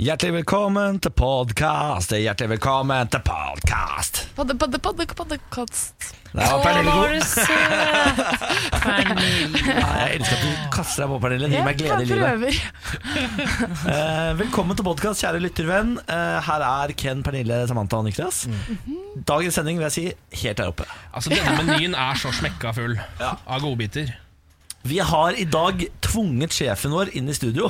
Hjertelig velkommen til podkast. Hjertelig velkommen til podkast. Padde, padde, padde, padde, kost. Det var Pernille Å, god. var du søt! Pernille. Nei, Jeg elsker at du kaster deg på Pernille. Det Gir meg glede i Jeg livet. prøver. Eh, velkommen til podkast, kjære lyttervenn. Eh, her er Ken, Pernille, Samantha og Niklas. Mm. Mhm. Dagens sending vil jeg si helt der oppe. Altså Denne menyen er så smekka full av godbiter. Vi har i dag tvunget sjefen vår inn i studio.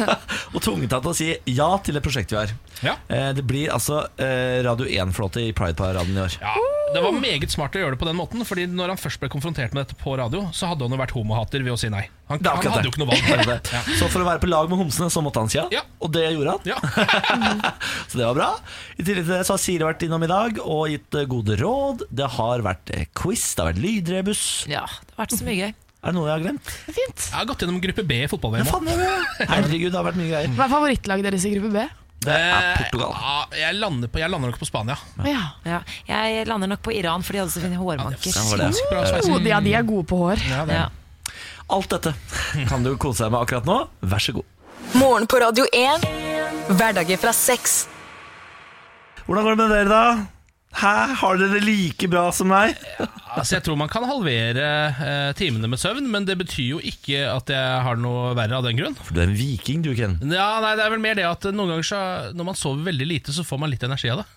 og tvunget han til å si ja til det prosjektet vi har. Mm. Ja. Eh, det blir altså eh, Radio 1-flåte i Pride-paraden i år. Ja, Uh. Det var meget smart å gjøre det på den måten, Fordi når han først ble konfrontert med dette på radio, så hadde han jo vært homohater ved å si nei. Han, Det er han akkurat hadde det. jo ikke noe Det er valg. det. Så for å være på lag med homsene, så måtte han si ja. Ja. Og det gjorde han. Ja. Så det var bra. I tillegg til det så har Siri vært innom i dag og gitt eh, gode råd. Det har vært eh, quiz, det har vært lydrebus. Ja, det har vært så mye gøy. Er det noe jeg har glemt? Det er Fint. Jeg har gått gjennom gruppe B i Ja, fotball-VM. også. faen, det var- Herregud, det har vært mye greier. Hva er favorittlaget deres i gruppe B? Det er Eh, Portugal. ja, jeg, lander på, jeg lander nok på Spania. Å ja. Ja, jeg lander nok på Iran, for de hadde så fine hårmanker. Ja, det var det. Ganske bra sveis. Oh, de, ja, de er gode på hår. Ja, det er- Ja. Alt dette kan du kose deg med akkurat nå. Vær så god. Morgen på Radio 1. Hverdager fra seks. Hvordan går det med dere, da? Hæ, har dere det like bra som meg? Altså, jeg tror man kan halvere eh, timene med søvn, men det betyr jo ikke at jeg har noe verre av den grunn. For du er en viking, du, Ken. Ja, nei, det er vel mer det at noen ganger så, når man sover veldig lite, så får man litt energi av det.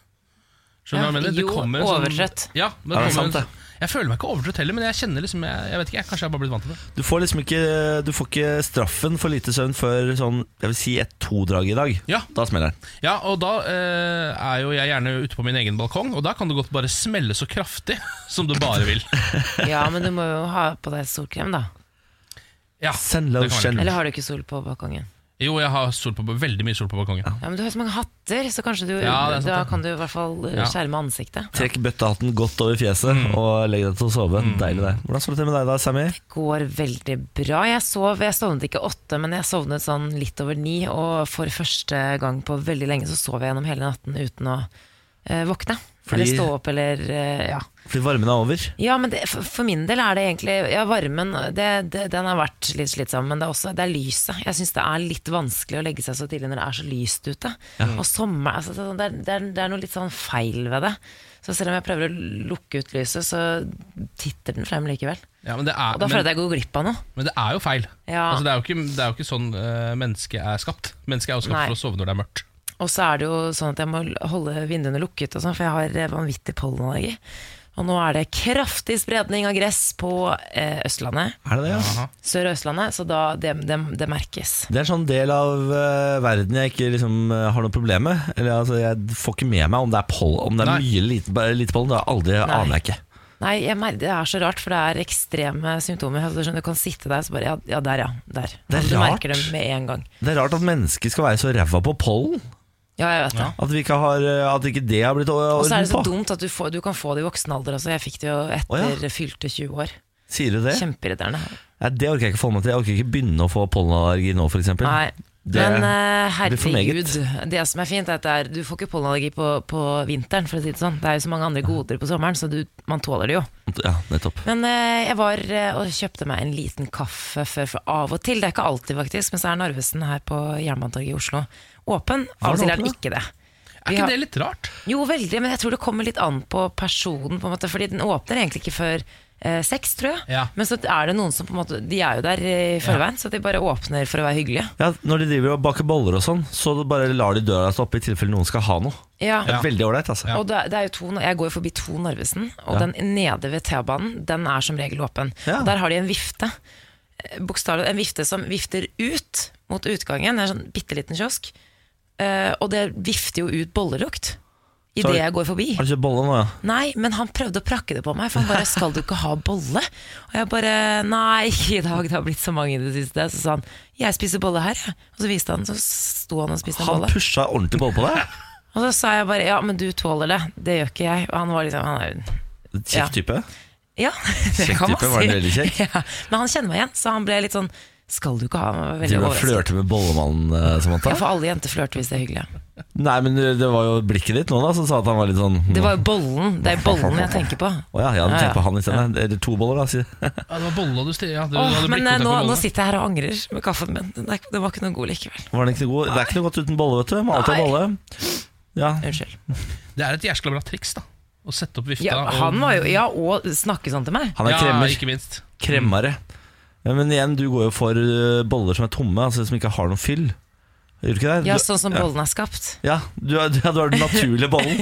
Skjønner du hva jeg Ja, mener? Det jo, kommer en overtrøtt. Sånn, ja, men Ja, det er kommer en sant, det. sånn- Jeg føler meg ikke overtrøtt heller, men jeg kjenner liksom Jeg, jeg vet ikke, jeg, kanskje jeg har bare blitt vant til det. Du får liksom ikke, du får ikke straffen for lite søvn før sånn, jeg vil si et todrag i dag. Ja. Da smeller den. Ja, og da eh, er jo jeg gjerne ute på min egen balkong, og da kan det godt bare smelle så kraftig som du bare vil. ja, men du må jo ha på deg solkrem, da. Ja, Send det kan man lotion. gjøre. Eller har du ikke sol på balkongen? Jo, jeg har sol på, veldig mye sol på balkongen. Ja, men Du har så mange hatter, så kanskje du, Ja, det er sant, da det. kan du i hvert fall eh, Ja. skjerme ansiktet. Trekk bøttehatten godt over fjeset Mm. og legg deg til å sove. Deilig det. Hvordan står det til med deg da, Sammy? Går veldig bra. Jeg sov, jeg sovnet ikke åtte, men jeg sovnet sånn litt over ni. Og for første gang på veldig lenge så sov jeg gjennom hele natten uten å eh, våkne. Fordi- Eller stå opp, eller eh, ja. Fordi varmen er over. Ja, men det, for, for min del er det egentlig Ja, varmen det, det, den har vært litt slitsom, men det er også det er lyset. Jeg syns det er litt vanskelig å legge seg så tidlig når det er så lyst ute. Og sommer altså, det, er- det, er, det er noe litt sånn feil ved det. Så selv om jeg prøver å lukke ut lyset, så titter den frem likevel. Ja, men, det Og er, da føler men, jeg at jeg går glipp av noe. men det er jo feil. Ja. Altså, det, er jo ikke, det er jo ikke sånn eh, mennesket er skapt. Mennesket er jo skapt Nei. for å sove når det er mørkt. Og så er det jo sånn at jeg må holde vinduene lukket, og sånn, for jeg har eh, vanvittig pollenallergi. Og nå er det kraftig spredning av gress på eh, Østlandet, Er det det? Ja? Sør- og Østlandet, så da, det, det, det merkes. Det er en sånn del av eh, verden jeg ikke liksom, eh, har noe problem med. Eller, altså, jeg får ikke med meg om det er, poll, om det er Nei. mye eller lite, bare lite pollen. Det er aldri, Nei. aner jeg ikke. Nei, jeg mer, det er så rart, for det er ekstreme symptomer. Altså, du skjønner, du kan sitte der, så bare Ja, ja der, ja. Der. Det er Altså, du rart. merker det med en gang. Det er rart at mennesker skal være så ræva på pollen. Ja, jeg vet det. Ja. At, vi ikke, har, eh, at ikke det har blitt o- Og så er orden det så på. dumt at du, får, du kan få det i voksen alder også. Jeg fikk det jo etter Å, fylte 20 år. Sier du det? Kjempeirriterende. Nei, det orker jeg ikke forholde meg til. Jeg orker ikke begynne å få pollenallergi nå, f.eks. Nei. Det Men eh, blir for meget. herregud, det som er fint, er at det er, du får ikke pollenallergi på, på vinteren, for å si det sånn. Det er jo så mange andre goder på sommeren, så du, man tåler det jo. Ja, nettopp. Men eh, jeg var eh, og kjøpte meg en liten kaffe før, for av og til, det er ikke alltid faktisk, men så er Narvesen her på Jernbanetorget i Oslo åpen. Av og til er den ikke det. Er Vi ikke har- det litt rart? Jo, veldig, men jeg tror det kommer litt an på personen, på en måte, fordi den åpner egentlig ikke før eh, seks, tror jeg. Ja. Men så er det noen som på en måte, de er jo der eh, i forveien, så de bare åpner for å være hyggelige. Ja, Når de driver og baker boller og sånn, så bare lar de døra stå oppe i tilfelle noen skal ha noe. Ja. Det er Veldig ålreit, altså. Og det er, det er jo to, jeg går jo forbi to Narvesen, og den nede ved T-banen, den er som regel åpen. Ja. Og der har de en vifte, eh, bokstavelig en vifte som vifter ut mot utgangen, det er en sånn bitte liten kiosk, eh, og det vifter jo ut bollelukt i Så har det du- jeg går forbi. Har du kjøpt boller nå, ja? Nei, men han prøvde å prakke det på meg, for han bare 'skal du ikke ha bolle?' Og jeg bare 'nei, i dag, det har blitt så mange i det siste'. Så sa han 'jeg spiser bolle her', jeg. Og så viste han, så sto han og spiste en Han bolle. pusha ordentlig bolle på deg? Og så sa jeg bare 'ja, men du tåler det', det gjør ikke jeg. Og han var liksom han er, Kjekk Ja. type. Ja, det Kjekk kan man type, var si. den veldig kjekk? Ja, men han kjenner meg igjen, så han ble litt sånn Skal du ikke ha meg? Veldig Driver og overrasket. flørter med bollemannen, eh, Samantha. Ja, for alle jenter flørter hvis det er hyggelig. Nei, men det var jo blikket ditt nå da som sa at han var litt sånn Det var jo bollen. Det er bollen jeg tenker på. Å ja, jeg hadde Ja, tenkt på ja. han i stedet. Eller to boller, da. sier- Ja, det var bolla du stirret ja, du Åh, hadde men eh, blikkontakt med nå, nå bolla. sitter jeg her og angrer med kaffen min. Den er- Den var ikke noe god likevel. Var den ikke så god? Det er ikke noe godt uten bolle, vet du. Må alltid ha Nei. bolle. Ja. Unnskyld. Det er et jæskla bra triks, da. Å sette opp vifta. Ja, og- han var jo Ja, og snakke sånn til meg. Han er ja, kremmer. ikke minst. Kremmere. Ja, men igjen, du går jo for eh, boller som er tomme, altså som ikke har noe fyll. Gjør du ikke det? Ja, Du- sånn som bollen er skapt. Ja, du er, du er, du er den naturlige bollen.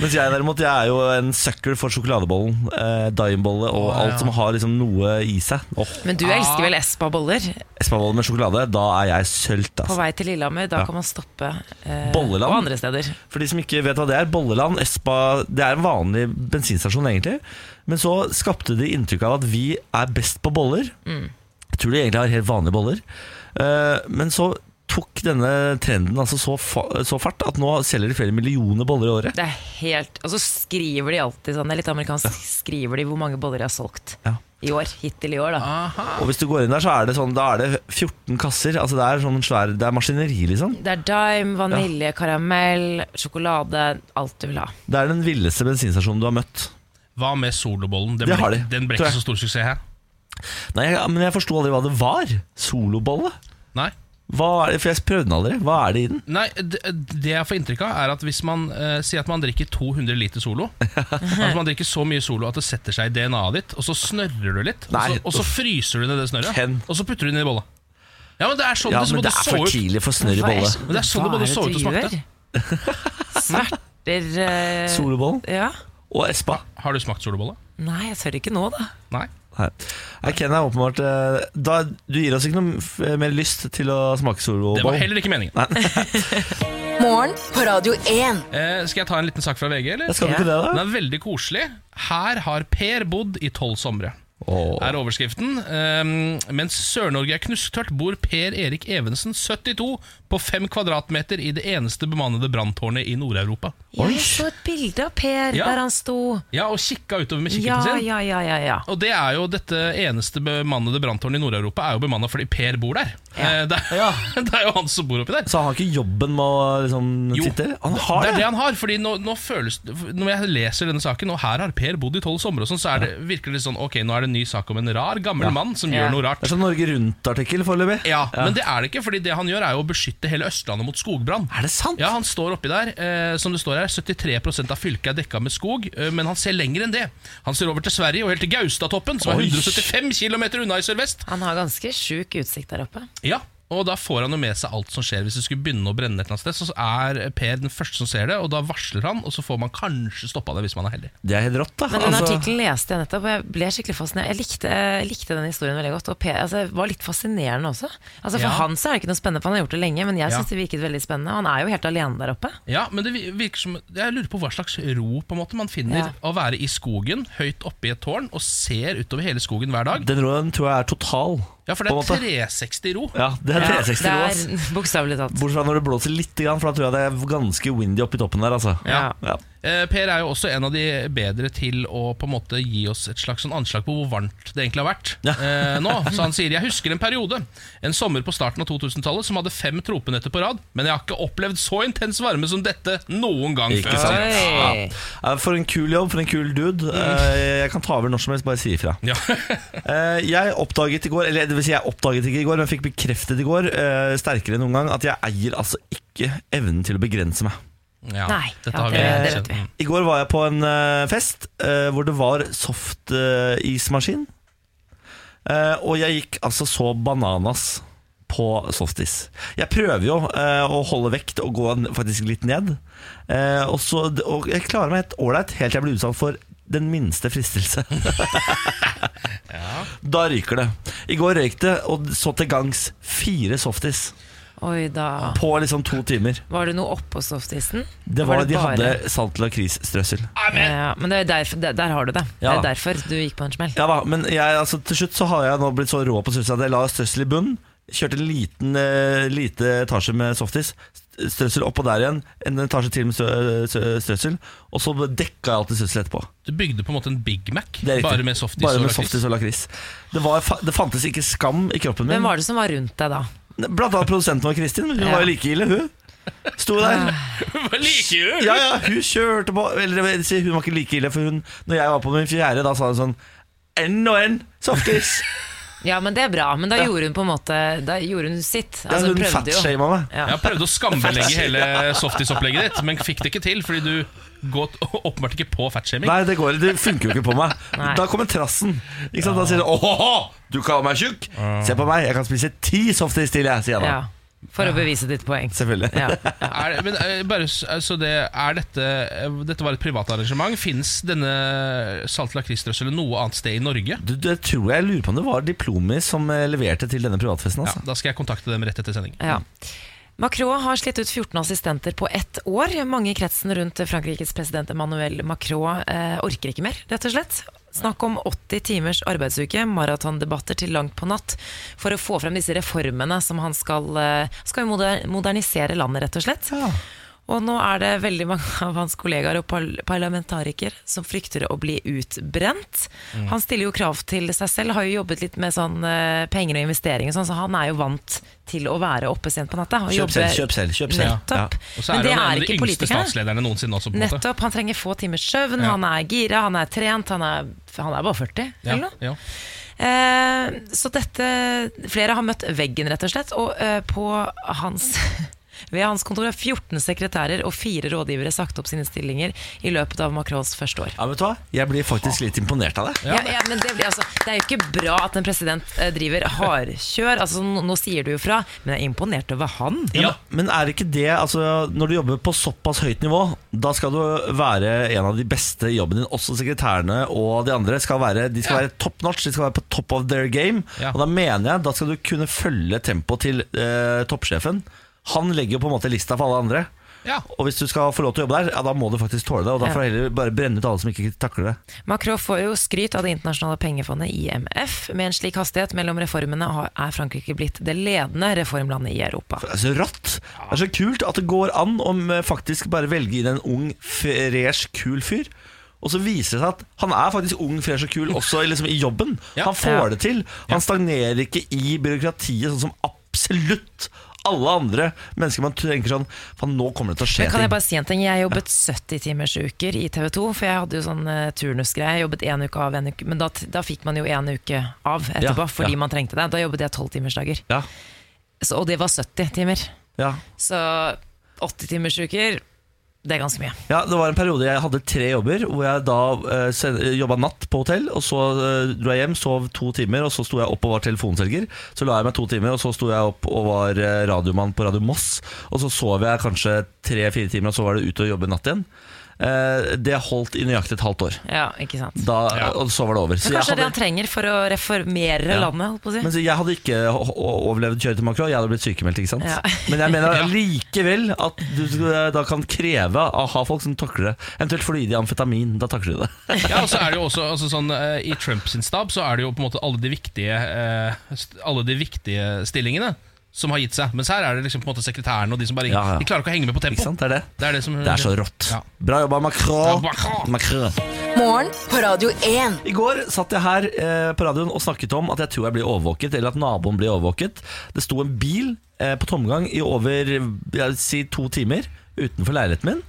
Mens jeg derimot, jeg er jo en sucker for sjokoladebollen, eh, daimbolle og Å, alt ja. som har liksom noe i seg. Åh, Men du Ah. elsker vel Espa-boller? Espabolle med sjokolade, da er jeg sølt, På altså. vei til Lillehammer, da Ja. kan man stoppe. eh, Bolleland. Og andre steder. For de som ikke vet hva det er, Bolleland, Espa Det er en vanlig bensinstasjon, egentlig. Men så skapte de inntrykk av at vi er best på boller. Jeg tror de egentlig har helt vanlige boller. Eh, Men så tok denne trenden altså så, fa så fart at nå selger de flere millioner boller i året. Det er helt Og så skriver de alltid sånn, det er litt amerikansk, skriver de hvor mange boller de har solgt Ja. i år. Hittil i år, da. Og hvis du går inn der, så er det sånn Da er det 14 kasser. Altså Det er sånn svær Det er maskineri, liksom. Det er dime, vanilje, karamell, sjokolade, alt du vil ha. Det er den villeste bensinstasjonen du har møtt. Mm. Hva med solobollen? Den Det ble- har de, Den ble tror jeg. ikke så stor suksess her. Nei, jeg, Men jeg forsto aldri hva det var. Solobolle? Nei. Hva er det? For jeg prøvde den aldri. Hva er det i den? Nei, det, det jeg får inntrykk av, er at hvis man eh, sier at man drikker 200 liter solo At man drikker så mye solo at det setter seg i DNA-et ditt, og så snørrer du litt, og Nei, så, og så fryser du ned det snørret, Ken. og så putter du det ned i bolla. Ja, men det er sånn Ja, det, men det så det er så for ut. tidlig for snørr i Hva er- bolle. Men det er sånn det hva både er så ut du og smakte. gjør? Sverter eh, Solobollen Ja. og Espa. Har du smakt solobolle? Nei, jeg tør ikke nå, da. Nei. Nei, Nei, Ken er åpenbart eh, da, Du gir oss ikke noe f- eh, mer lyst til å smake Det var soloboll. heller ikke meningen. Morgen på Radio 1. Eh, skal jeg ta en liten sak fra VG, eller? Jeg skal du ikke det, Den da? er veldig koselig. Her har Per bodd i tolv somre. Åh. er overskriften. Ehm, mens Sør-Norge er knusktørt, bor Per Erik Evensen, 72, på fem kvadratmeter i det eneste bemannede branntårnet i Nord-Europa. Jeg så et bilde av Per Ja. der han sto. Ja, og kikka utover med Ja, kikkerten sin. ja, ja, ja, ja. Og det er jo dette eneste bemannede branntårnet i Nord-Europa er jo bemanna fordi Per bor der. Eh, Det, er, det er jo han som bor oppi der. Så han har ikke jobben med å liksom, Jo, titte? Han har det er det det! han har. Fordi nå, nå føles Når jeg leser denne saken, og her har Per bodd i tolv somre, og sånn, så er det virkelig sånn Ok, nå er det en ny sak om en rar, gammel mann som Ja. gjør noe rart. Det er sånn Norge Rundt-artikkel foreløpig. Ja, Men det er det ikke, fordi det han gjør, er jo å beskytte hele Østlandet mot skogbrann. Er det sant? Ja, han står oppi der. Eh, som det står her, 73 av fylket er dekka med skog, eh, men han ser lenger enn det. Han ser over til Sverige og helt til Gaustatoppen, som er Oi. 175 km unna i sørvest. Han har ganske sjuk utsikt der oppe. Ja, og da får han jo med seg alt som skjer hvis det skulle begynne å brenne et eller annet sted. Så er Per den første som ser det, og da varsler han, og så får man kanskje stoppa det hvis man er heldig. Det er helt rått, da. Men den Altså, artikkelen leste jeg nettopp, og jeg ble skikkelig fascinert. Jeg likte, jeg likte den historien veldig godt, og Per, altså, det var litt fascinerende også. Altså, Ja. for han så er det ikke noe spennende, for han har gjort det lenge, men jeg synes det virket veldig spennende. og Han er jo helt alene der oppe. Ja, men det vi- virker som Jeg lurer på hva slags ro på en måte man finner Ja. å være i skogen, høyt oppe i et tårn, og ser utover hele skogen hver dag. den roen tror jeg er total. Ja, for på en måte. det er 360 ro. Ja, det er 360 ro. ass. det er bokstavelig talt. Bortsett fra når det blåser litt, grann, for da tror jeg det er ganske windy oppi toppen der. Altså. Ja. Ja. Eh, Per er jo også en av de bedre til å på en måte gi oss et slags sånn anslag på hvor varmt det egentlig har vært eh, nå. Så han sier jeg husker en periode, en sommer på starten av 2000-tallet, som hadde fem tropenetter på rad, men jeg har ikke opplevd så intens varme som dette noen gang Ikke før. sant? Oi. Ja. Eh, For en kul jobb, for en kul dude. Eh, Jeg kan ta over når som helst, bare si ifra. Mm. Ja. Eh, Jeg oppdaget i går, eller det vil si jeg oppdaget ikke i går, men jeg fikk bekreftet i går, eh, sterkere enn noen gang, at jeg eier altså ikke evnen til å begrense meg. ja, Nei, dette ja, har vi det- det, det vet I vi. går var jeg på en eh, fest eh, hvor det var softismaskin. Eh, og jeg gikk altså så bananas på softis. Jeg prøver jo eh, å holde vekt og gå n- faktisk litt ned. Eh, og, så, og jeg klarer meg helt ålreit helt til jeg blir utsatt for den minste fristelse. Da ryker det. I går røyk det, og så til gangs fire softis Oi da. på liksom to timer. Var det noe oppå softisen? Det var, De bare- hadde salt lakrisstrøssel. Ja, men det er derfor, der, der har du det. Det Ja. er derfor du gikk på en smell. Ja da, men jeg, altså, til slutt så har jeg nå blitt så rå på strøssel at jeg la strøssel i bunnen. Kjørte en liten eh, lite etasje med softis. strøssel oppå der igjen, en etasje til med strø- strø- strøssel, og så dekka jeg alltid strøssel etterpå. Du bygde på en måte en Big Mac, Det er riktig. bare med softis Bare og med lakris. softis og lakris. Det, var, fa- det fantes ikke skam i kroppen min. Hvem var det som var rundt deg da? Blant annet produsenten vår, Kristin. Hun var jo like ille, hun. Sto Ah. der. Hva liker du? Ja, ja, hun kjørte på Eller jeg vil si, hun var ikke like ille, for hun Når jeg var på min fjerde, da sa hun sånn Enn og enn softis. Ja, men det er bra. Men da gjorde hun på en måte Da gjorde hun sitt. Ja, Altså, hun hun prøvde jo. fatshama meg. Jeg har prøvd å skambelegge hele softisopplegget ditt, men fikk det ikke til, fordi du går åpenbart ikke på fatshaming. Nei, det går Det funker jo ikke på meg. Nei. Da kommer trassen. Ikke sant? Da sier hun åhåhå, du kaller meg tjukk. Se på meg, jeg kan spise ti softis til, jeg, sier jeg da. Ja, for å bevise ditt poeng. Selvfølgelig. Ja. Er, det- men eh, bare, s- altså det, er dette eh, Dette var et privat arrangement. Fins denne salt lakrisdrøsselen noe annet sted i Norge? Du, det tror jeg jeg lurer på om det var Diplomi som eh, leverte til denne privatfesten. Ja, Altså. da skal jeg kontakte dem rett etter sending. Ja. Macron har slitt ut 14 assistenter på ett år. Mange i kretsen rundt Frankrikes president Emmanuel Macron eh, orker ikke mer, rett og slett. Snakk om 80 timers arbeidsuke, maratondebatter til langt på natt, for å få frem disse reformene som han skal, eh, skal jo moder modernisere landet, rett og slett. Og nå er det veldig mange av hans kollegaer og par- parlamentarikere som frykter å bli utbrent. Han stiller jo krav til seg selv, har jo jobbet litt med sånn eh, penger og investeringer, og sånn, så han er jo vant til å være oppe sent på natta. Og Kjøp jobbe- selv, kjøp selv. kjøp selv Nettopp. Og så Men er det han en er av de ikke yngste politikerne. statslederne noensinne også. på en måte. Nettopp. Han trenger få timers søvn, Ja. han er gira, han er trent, han er, han er bare 40 eller Ja, noe. ja. Eh, så dette Flere har møtt veggen, rett og slett. Og eh, på hans ved hans kontor er 14 sekretærer og fire rådgivere sagt opp sine stillinger i løpet av Macrons første år. Ja, vet du hva? Jeg blir faktisk litt imponert av deg. Ja, ja, men det, blir, altså, det er jo ikke bra at en president eh, driver hardkjør. Altså, nå, nå sier du jo fra, men jeg er imponert over han. Ja. Men er det ikke det altså, Når du jobber på såpass høyt nivå, da skal du være en av de beste i jobben din. Også sekretærene og de andre skal være, de skal være top notch. De skal være på top of their game. Ja. Og da mener jeg da skal du kunne følge tempoet til eh, toppsjefen. Han legger jo på en måte lista for alle andre. Ja. Og hvis du skal få lov til å jobbe der, ja, da må du faktisk tåle det. Og da Ja. får du heller bare brenne ut alle som ikke takler det. Macron får jo skryt av det internasjonale pengefondet IMF. Med en slik hastighet mellom reformene har- er Frankrike blitt det ledende reformlandet i Europa. Det er så Altså, rått. Det er så kult at det går an å eh, faktisk bare velge inn en ung, fresh, kul fyr. Og så viser det seg at han er faktisk ung, fresh og kul også i- liksom, i jobben. Ja. Han får det til. Han stagnerer ikke i byråkratiet, sånn som absolutt alle andre mennesker man tenker sånn Faen, nå kommer det til å skje Men kan jeg ting. bare si en ting? Jeg jobbet 70 timers uker i TV 2, for jeg hadde jo sånn eh, turnusgreie. Jeg jobbet én uke av, en uke, men da, da fikk man jo én uke av etterpå, Ja, fordi ja. man trengte det. Da jobbet jeg 12 timersdager. Ja, Så- Og det var 70 timer. ja. Så 80 timers uker, det er ganske mye. ja, det var en periode jeg hadde tre jobber, hvor jeg da eh, sen- jobba natt på hotell, og så eh, dro jeg hjem, sov to timer, og så sto jeg opp og var telefonselger. Så la jeg meg to timer, og så sto jeg opp og var eh, radiomann på Radio Moss. Og så sov jeg kanskje tre-fire timer, og så var det ut og jobbe natt igjen. Eh, det holdt i nøyaktig et halvt år. Ja, ikke sant. Da, Ja. Og så var det over. Så jeg Men kanskje det er det hadde- han trenger for å reformere Ja. landet, holdt på å si. Men så jeg hadde ikke o- o- overlevd kjøret til Macron, jeg hadde blitt sykemeldt. ikke sant? Ja. Men jeg mener likevel at du skal- eh, da kan kreve å ha folk som takler det. Eventuelt fordi de har amfetamin. Da takler de det. Ja, og så er det jo også altså sånn, eh, I Trumps stab så er det jo på en måte alle de viktige, eh, st- alle de viktige stillingene som har gitt seg. Mens her er det liksom på en måte sekretæren og de som bare Ja, ja. De klarer ikke å henge med på Ikke tempo. sant? Det er det. Det er det som Det er så rått. Mm. Ja. Bra jobba, Macron. Ja, Macron. Macron. Morgen på Radio 1. I går satt jeg her eh, på radioen og snakket om at jeg tror jeg blir overvåket, eller at naboen blir overvåket. Det sto en bil eh, på tomgang i over jeg vil si, to timer utenfor leiligheten min.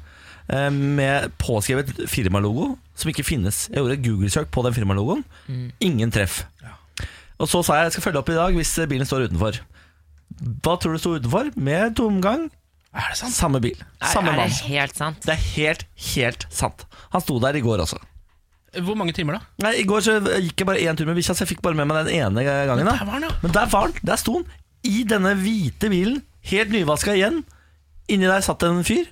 eh, Med påskrevet firmalogo som ikke finnes. Jeg gjorde et Google-søk på den firmalogoen. Ingen treff. Og så sa jeg jeg skal følge opp i dag hvis eh, bilen står utenfor. Hva tror du sto utenfor? Med tomgang, Er det sant? samme bil. Samme er, er mann. det helt sant? Det er helt, helt sant. Han sto der i går også. Hvor mange timer da? Nei, I går så gikk jeg bare én tur med bikkja, så jeg fikk bare med meg den ene gangen. der var den, ja. Men der var den, der sto den. I denne hvite bilen, helt nyvaska igjen. Inni der satt en fyr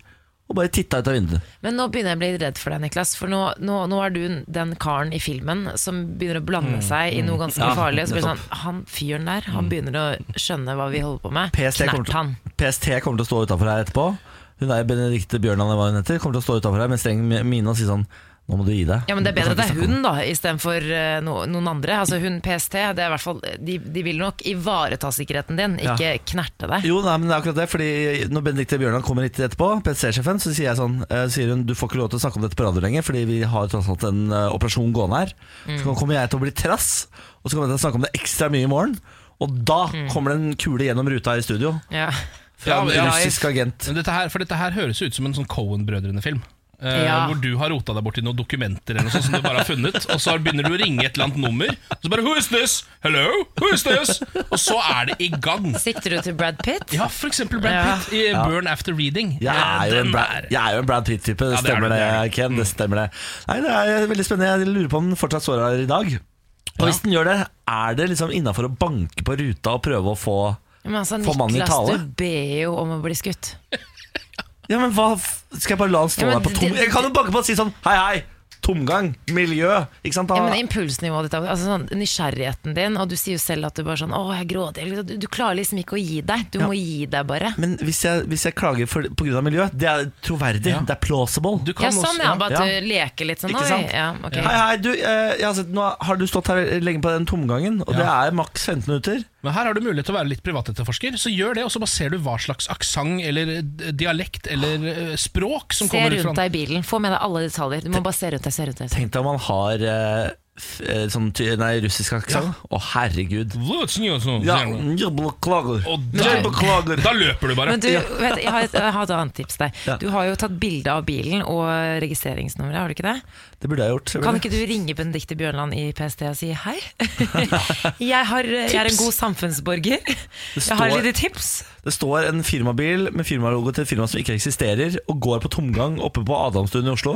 og bare titta ut av vinduet. Men nå begynner jeg å bli redd for deg, Niklas. For nå, nå, nå er du den karen i filmen som begynner å blande seg i noe ganske Mm, Ja, farlig. Og så blir det sånn, nettopp. Mm. han fyren der, han begynner å skjønne hva vi holder på med. PST kommer Knert til- han. PST kommer til å stå utafor her etterpå. Hun der Benedicte Bjørnland eller hva hun heter, kommer til å stå utafor her med streng mine og si sånn Nå må du gi deg. Ja, men Det er Du bedre kan at ikke det er snakke om hun da, istedenfor uh, no, noen andre. Altså Hun PST, det er i hvert fall, de, de vil nok ivareta sikkerheten din, Ja. ikke knerte deg. Jo, nei, men det er akkurat det Fordi når Benedicte Bjørnar kommer hit etterpå PST-sjefen, så sier jeg sånn eh, Sier hun, du får ikke lov til å snakke om dette på radio lenger Fordi vi har tross alt en eh, operasjon gående her Så kommer jeg til å bli trass Og så kommer jeg til å snakke om det ekstra mye i morgen Og da kommer det en kule gjennom ruta i studio Ja. Fra en Ja, ja. russisk agent Men Dette her, for dette her høres ut som en sånn Cohen-brødrene-film. eh, Ja. Hvor du har rota deg borti noen dokumenter eller noe sånt som du bare har funnet. Og så begynner du å ringe et eller annet nummer, og så bare 'Who is this? Hello? Who is this?' Og så er det i gang. Sikter du til Brad Pitt? Ja, for eksempel Brad Pitt i 'Burn After Reading'. jeg er, jo Den en Brad, er- jeg er jo en Brad Pitt-type, det Ja, det er stemmer du, det, det er Mm. Ken. Det stemmer det. Nei, det er eh, veldig spennende. Jeg lurer på om den fortsatt står her i dag. Og hvis den gjør det, er det liksom innafor å banke på ruta og prøve å få Men altså, Får mannen i Niklas, tale? du ber jo om å bli skutt. Ja, men hva f- Skal jeg bare la han stå Ja, men der på tom det- Jeg kan jo banke på og si sånn Hei, hei, tomgang, miljø Ikke sant? Da, Ja, men Impulsnivået ditt, altså sånn, nysgjerrigheten din, og du sier jo selv at du bare sånn Å, jeg gråter. Du, du klarer liksom ikke å gi deg. Du må gi deg, bare. men hvis, jeg, hvis jeg klager for, på grunn av miljø Det er troverdig, det er plausible Du kan Ja, sånn, også- ja. Bare at ja. du leker litt sånn. Ikke Oi, sant? ja, ok. Hei, hei, du eh, jeg har sett, Nå har du stått her lenge på den tomgangen Og det er maks 15 minutter Men her har du mulighet til å være litt privatetterforsker, så gjør det, og så bare ser du hva slags aksent eller eh, dialekt eller eh, språk som Se kommer ut fra rundt deg i bilen. Få med deg alle detaljer. Du må bare se rundt deg. se rundt deg. se rundt Tenk deg om han har eh, f- eh, sånn ty- nei, russisk aksang Å, herregud Ja, Ja. jeg beklager sånn? Og da- Jeg beklager Da løper du bare. Men du, vet, jeg, har et, jeg har et annet tips til deg. Du har jo tatt bilde av bilen og registreringsnummeret, har du ikke det? Det burde jeg gjort Kan ikke du ringe Benedicte Bjørnland i PST og si hei? jeg, har, jeg er en god samfunnsborger. Jeg har står- litt tips. Det står en firmabil med firmalogo til et firma som ikke eksisterer, og går på tomgang oppe på Adamstuen i Oslo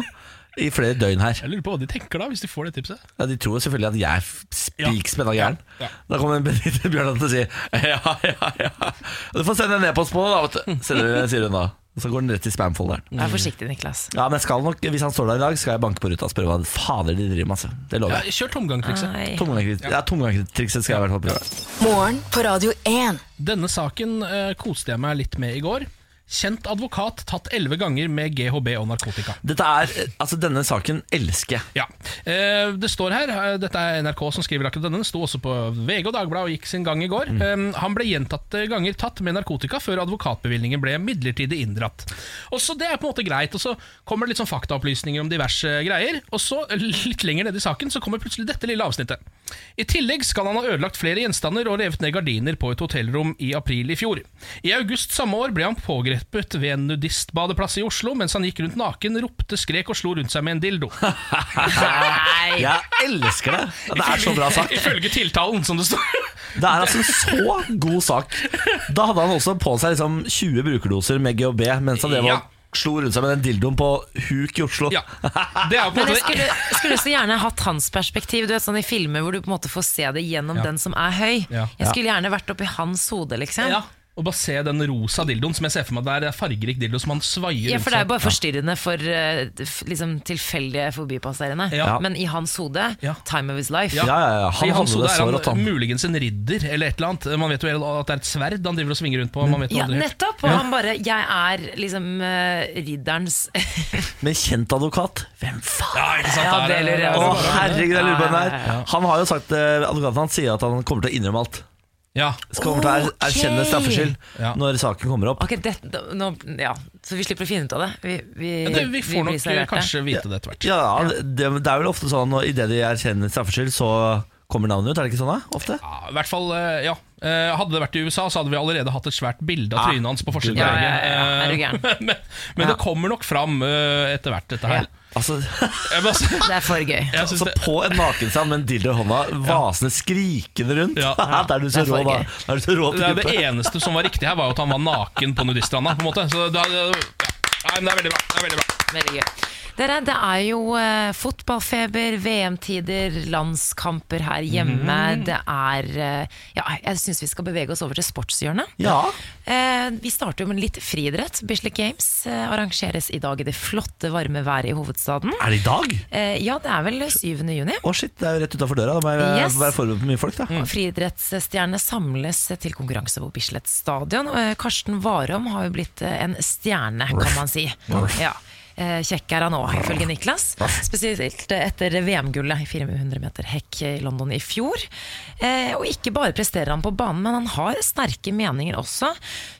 i flere døgn her. Jeg lurer på hva de tenker da, hvis de får det tipset. Ja, de tror selvfølgelig at jeg er f- spikspenna gæren. Ja. Da kommer Benedicte Bjørnland til å si ja, ja, ja. Du får sende en e-post på det, da, vet du. Sier hun- Sier hun da. Og så går den rett i spamfolderen. Vær forsiktig, Niklas. Ja, men jeg skal nok, Hvis han står der i dag, skal jeg banke på ruta og spørre hva fader de driver med. Altså. Det Ja, lover jeg. kjør tomgangtrikset. Nei. Tomgangstrikset ja, tomgangstrikset skal jeg i hvert fall prøve. Morgen på Radio 1. Denne saken eh, koste jeg meg litt med i går. Kjent advokat tatt elleve ganger med GHB og narkotika. Dette er, altså Denne saken elsker jeg. Ja, eh, Det står her, eh, dette er NRK som skriver akkurat denne, det sto også på VG og Dagbladet og gikk sin gang i går. Eh, han ble gjentatte ganger tatt med narkotika før advokatbevilgningen ble midlertidig inndratt. Og så Det er på en måte greit, og så kommer det litt sånn faktaopplysninger om diverse greier. Og så, eh, litt lenger nede i saken, så kommer plutselig dette lille avsnittet. I tillegg skal han ha ødelagt flere gjenstander og revet ned gardiner på et hotellrom i april i fjor. I august samme år ble han pågrepet ved en nudistbadeplass i Oslo mens han gikk rundt naken, ropte, skrek og slo rundt seg med en dildo. Nei. Jeg elsker det! Det er så bra sagt. Ifølge tiltalen, som det står. Det er altså en så god sak. Da hadde han også på seg liksom 20 brukerdoser med GHB mens han drev og Ja. slo rundt seg med den dildoen på huk i Oslo. Ja. Det er jo på en Men måte jeg skulle, skulle så gjerne hatt hans perspektiv. Du vet sånn I filmer hvor du på en måte får se det gjennom den som er høy. Ja. Jeg skulle gjerne vært oppi hans hode, liksom. ja. Og bare se den rosa dildoen som jeg ser for meg der. Det er fargerik dildo som han svaier Ja, rundt for det er jo seg. bare forstyrrende for eh, f- liksom, tilfeldige forbipasserende. Ja. Men i hans hode Ja. time of his life. Ja, ja, ja. I Han hans hadde hode det så er rått, han han. muligens en ridder eller et eller annet. Man vet jo at det er et sverd han driver og svinger rundt på. Man vet jo Ja, aldri helt. nettopp! Og han bare Jeg er liksom eh, ridderens Men kjent advokat, hvem faen? Ja, ikke sant? Ja, Der er- det lurer jeg Å, også på. herregud, jeg lurer på den Ja, ja, der. Han har jo sagt, eh, advokaten hans sier at han kommer til å innrømme alt. Ja. Skal Kommer til å er- erkjenne Ok. straffskyld Ja. når saken kommer opp. Ok, det, da- nå, ja. Så vi slipper å finne ut av det. Vi, vi, Ja, det, vi vi får blir nok eh, servert det. kanskje vite det etter hvert. Ja, det, det er vel ofte sånn at idet de erkjenner straffskyld, så kommer navnet ut. Er det ikke sånn, da? Ofte? Ja, I hvert fall, eh, ja Eh, Hadde det vært i USA, så hadde vi allerede hatt et svært bilde Ah, av trynet hans på forsiden. av Ja, VG. ja, ja, ja. Er du Eh, gæren? Men, men det kommer nok fram eh, etter hvert, dette her. Altså, Jeg bare- Det er for gøy. jeg synes altså det- På en nakenstrand med en dildo i hånda, vasende, skrikende rundt. Ja. Da er du så Det er rå, for da. gøy. Da er du så rå Det, er type. det eneste som var riktig her, var jo at han var naken på nudiststranda. På en måte. Så da, ja. Nei, men det er veldig bra. Det er veldig bra. Veldig gøy. Dere, det er jo eh, fotballfeber, VM-tider, landskamper her hjemme. Det er eh, Ja, jeg syns vi skal bevege oss over til sportshjørnet. Ja. Eh, vi starter jo med litt friidrett. Bislett Games eh, arrangeres i dag i det flotte, varme været i hovedstaden. Er det i dag? Eh, ja, det er vel 7. juni. Å shit, det er jo rett utafor døra. Da må jeg Yes. være forberedt på mye folk. da Mm. Og Friidrettsstjernene samles til konkurranse på Bislett stadion. og, eh, Karsten Warholm har jo blitt eh, en stjerne, kan man si. Ja. eh, kjekk er han òg, ifølge Niklas. Spesielt etter VM-gullet i 400 meter hekk i London i fjor. Eh, Og ikke bare presterer han på banen, men han har sterke meninger også.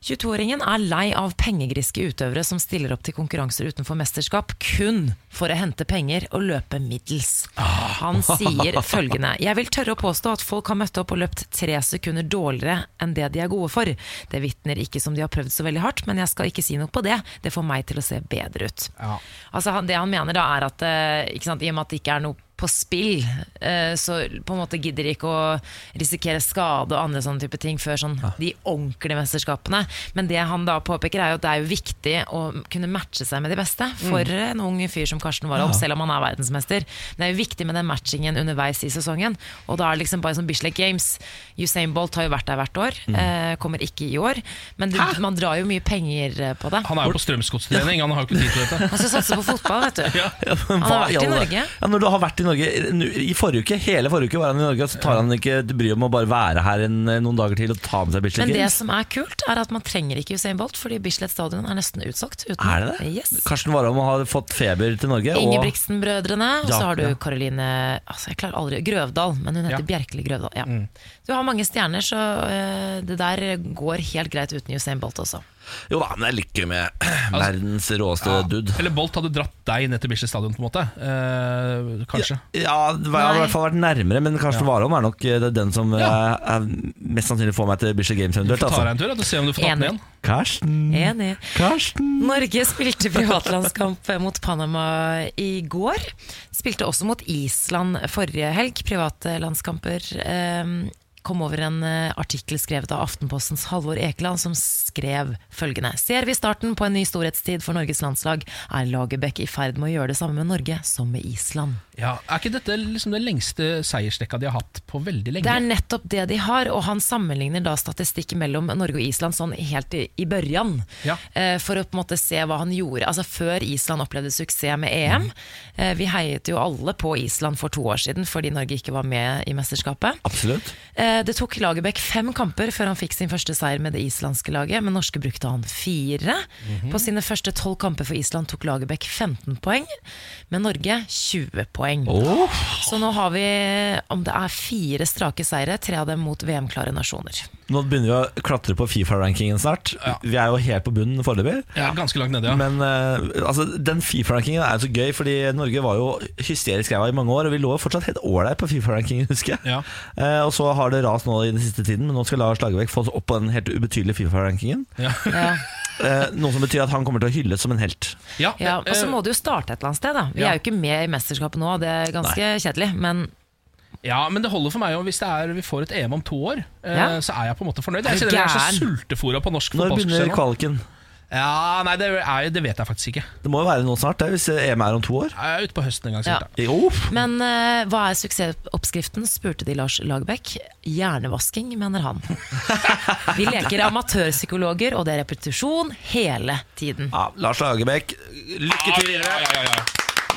22-åringen er lei av pengegriske utøvere som stiller opp til konkurranser utenfor mesterskap kun for å hente penger og løpe middels. Han sier følgende Jeg vil tørre å påstå at folk har møtt opp og løpt tre sekunder dårligere enn det de er gode for. Det vitner ikke som de har prøvd så veldig hardt, men jeg skal ikke si noe på det. Det får meg til å se bedre ut. Altså, han, det han mener da er at eh, ikke sant, i og med at det ikke er noe på spill, eh, så på en måte gidder de ikke å risikere skade og andre sånne type ting før sånn, de ordentlige mesterskapene. Men det han da påpeker er jo at det er jo viktig å kunne matche seg med de beste for en ung fyr som Karsten Warholm, selv om han er verdensmester. Men det er jo viktig med den matchingen underveis i sesongen. Og da er det liksom bare som Bislett Games. Usain Bolt har jo vært der hvert år, eh, kommer ikke i år. Men du, man drar jo mye penger eh, på det. Han er jo på strømsgodstrening, han har jo ikke tid til dette. Han skal satse på fotball, vet du. Ja, men Han hva har vært i i alle- Norge. Ja, når du har vært i Norge nu- I forrige uke, hele forrige uke var han i Norge, og så tar han ikke bryet om å bare være her en, noen dager til og ta med seg Bislett Men det Games. som er kult, er at man trenger ikke Usain Bolt, fordi Bislett stadion er nesten utsolgt. uten- Er det det? Yes. Karsten Warholm har fått feber til Norge. Og Ingebrigtsen-brødrene, og Ja, så har ja. du Karoline altså jeg klarer aldri, Grøvdal, men hun heter Bjerkeli Grøvdal. Ja. Mm. Du har mange stjerner, så eh, det der går helt greit uten Usain Bolt også. jo da, men jeg liker med Altså- verdens råeste dude. Eller Bolt hadde dratt deg ned til Bislett stadion, på en måte. Eh, kanskje. Ja, det var- jeg hadde i hvert fall vært nærmere, men Karsten Warholm er nok eh, det er den som Ja. eh, er, mest sannsynlig får meg til Bislett Games Du eventuelt. får ta deg Altså. en tur ja, og se om du får tatt den Enig. igjen. Karsten, Enig. Karsten Norge spilte privatlandskamp mot Panama i går. Spilte også mot Island forrige helg, private landskamper. Ehm, Kom over en eh, artikkel skrevet av Aftenpostens Halvor Ekeland, som skrev følgende Ser vi starten på en ny storhetstid for Norges landslag, er Lagerbäck i ferd med å gjøre det samme med Norge som med Island. Ja, er ikke dette liksom den lengste seiersrekka de har hatt på veldig lenge? Det er nettopp det de har, og han sammenligner da statistikk mellom Norge og Island sånn helt i, i børjan, Ja. eh, for å på en måte se hva han gjorde. Altså Før Island opplevde suksess med EM. Eh, vi heiet jo alle på Island for to år siden fordi Norge ikke var med i mesterskapet. Absolutt. Eh, Det tok Lagerbäck fem kamper før han fikk sin første seier med det islandske laget, men norske brukte han fire. På sine første tolv kamper for Island tok Lagerbäck 15 poeng, men Norge 20 poeng. Så nå har vi om det er fire strake seire, tre av dem mot VM-klare nasjoner. Nå begynner vi å klatre på Fifa-rankingen snart. Vi er jo helt på bunnen foreløpig. Ja, ganske langt nede, ja. Men eh, altså, den Fifa-rankingen er jo så gøy, fordi Norge var jo hysterisk ræva i mange år, og vi lå jo fortsatt helt ålreit på Fifa-rankingen, husker jeg. Ja. Eh, og så har det rast nå i den siste tiden, men nå skal Lars Lagerbäck få oss opp på den helt ubetydelige Fifa-rankingen. Ja. Eh, noe som betyr at han kommer til å hylles som en helt. ja, Ja, og så eh, må det jo starte et eller annet sted, da. Vi Ja. er jo ikke med i mesterskapet nå, det er ganske kjedelig, men ja, men det holder for meg òg. Hvis det er, vi får et EM om to år, eh, Ja. så er jeg på en måte fornøyd. Er Jeg du kjenner jeg er gæren? så sultefòra på norsk Når begynner fotballscene. kvaliken? Ja, nei, det, er, det vet jeg faktisk ikke. Det må jo være nå snart, det, hvis EM er om to år. Jeg er ute på høsten en gang. Ja. sikkert, Jo, Men eh, hva er suksessoppskriften, spurte de Lars Lagerbäck. Hjernevasking, mener han. Vi leker amatørpsykologer, og det er repetisjon hele tiden. ja, Lars Lagerbäck, lykke til da. videre. ja, ja, ja.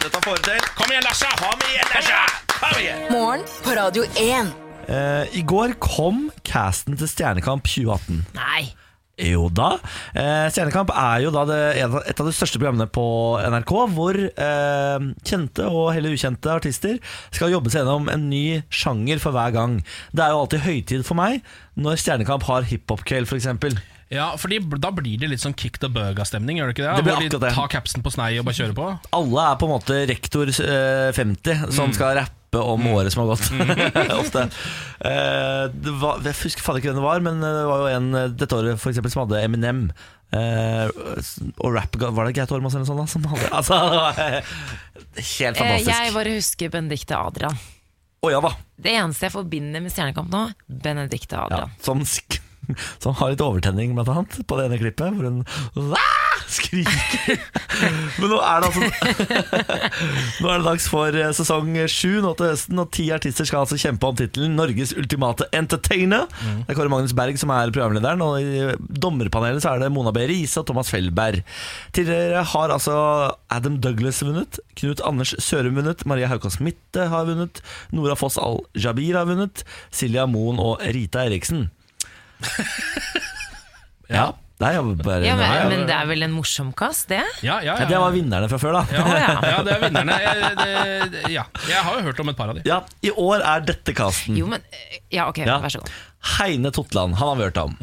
Dette får du til. Kom igjen, Larsa! Ha med igjen, Larsa! Kom igjen! Morgen på Radio 1. Eh, I går kom casten til Stjernekamp 2018. Nei! Jo da. Eh, Stjernekamp er jo da det, et av de største programmene på NRK, hvor eh, kjente og heller ukjente artister skal jobbe seg gjennom en ny sjanger for hver gang. Det er jo alltid høytid for meg når Stjernekamp har hiphop-kveld, f.eks. Ja, fordi bl- Da blir det litt sånn kick the burger-stemning. gjør det ikke det? Det blir Hvor de akkurat det. tar capsen på snei og bare kjører på. Alle er på en måte rektor eh, 50 som skal rappe om året som har gått. Ofte. Eh, det var, jeg husker faen ikke hvem det var, men det var jo en eh, dette året for eksempel, som hadde Eminem. eh, og rap, var det Gaute Ormås eller noe sånt? da, Som hadde, altså, det var, eh, helt Eh, jeg fantastisk. Å bare husker Benedicte Adrian. ja da. Det eneste jeg forbinder med Stjernekamp nå, Benedicte Ja, Adrian. som, sk som har litt overtenning, blant annet, på det ene klippet, hvor hun "Ah!" skriker. Men nå er det altså Nå er det dags for eh, sesong sju nå til høsten, og ti artister skal altså kjempe om tittelen 'Norges ultimate entertainer'. Det er Kåre Magnus Berg som er programlederen, og i dommerpanelet så er det Mona B. Riise og Thomas Felberg. Tidligere har altså Adam Douglas vunnet, Knut Anders Sørum vunnet, Maria Haukås Mitte har vunnet, Nora Foss Al-Jabir har vunnet, Silja Moen og Rita Eriksen. Ja, det Nei, jeg bare, Ja, nei, men, jeg- men det er vel en morsom kast, det? Ja, ja, Nei, ja. det var vinnerne fra før, da. ja, Å, ja. ja, det er vinnerne. Jeg, det, det- ja. jeg har jo hørt om et par av de. Ja, I år er dette casten. Jo, men eh, Ja, ok, Ja. vær så god. Heine Totland, han har vi hørt om.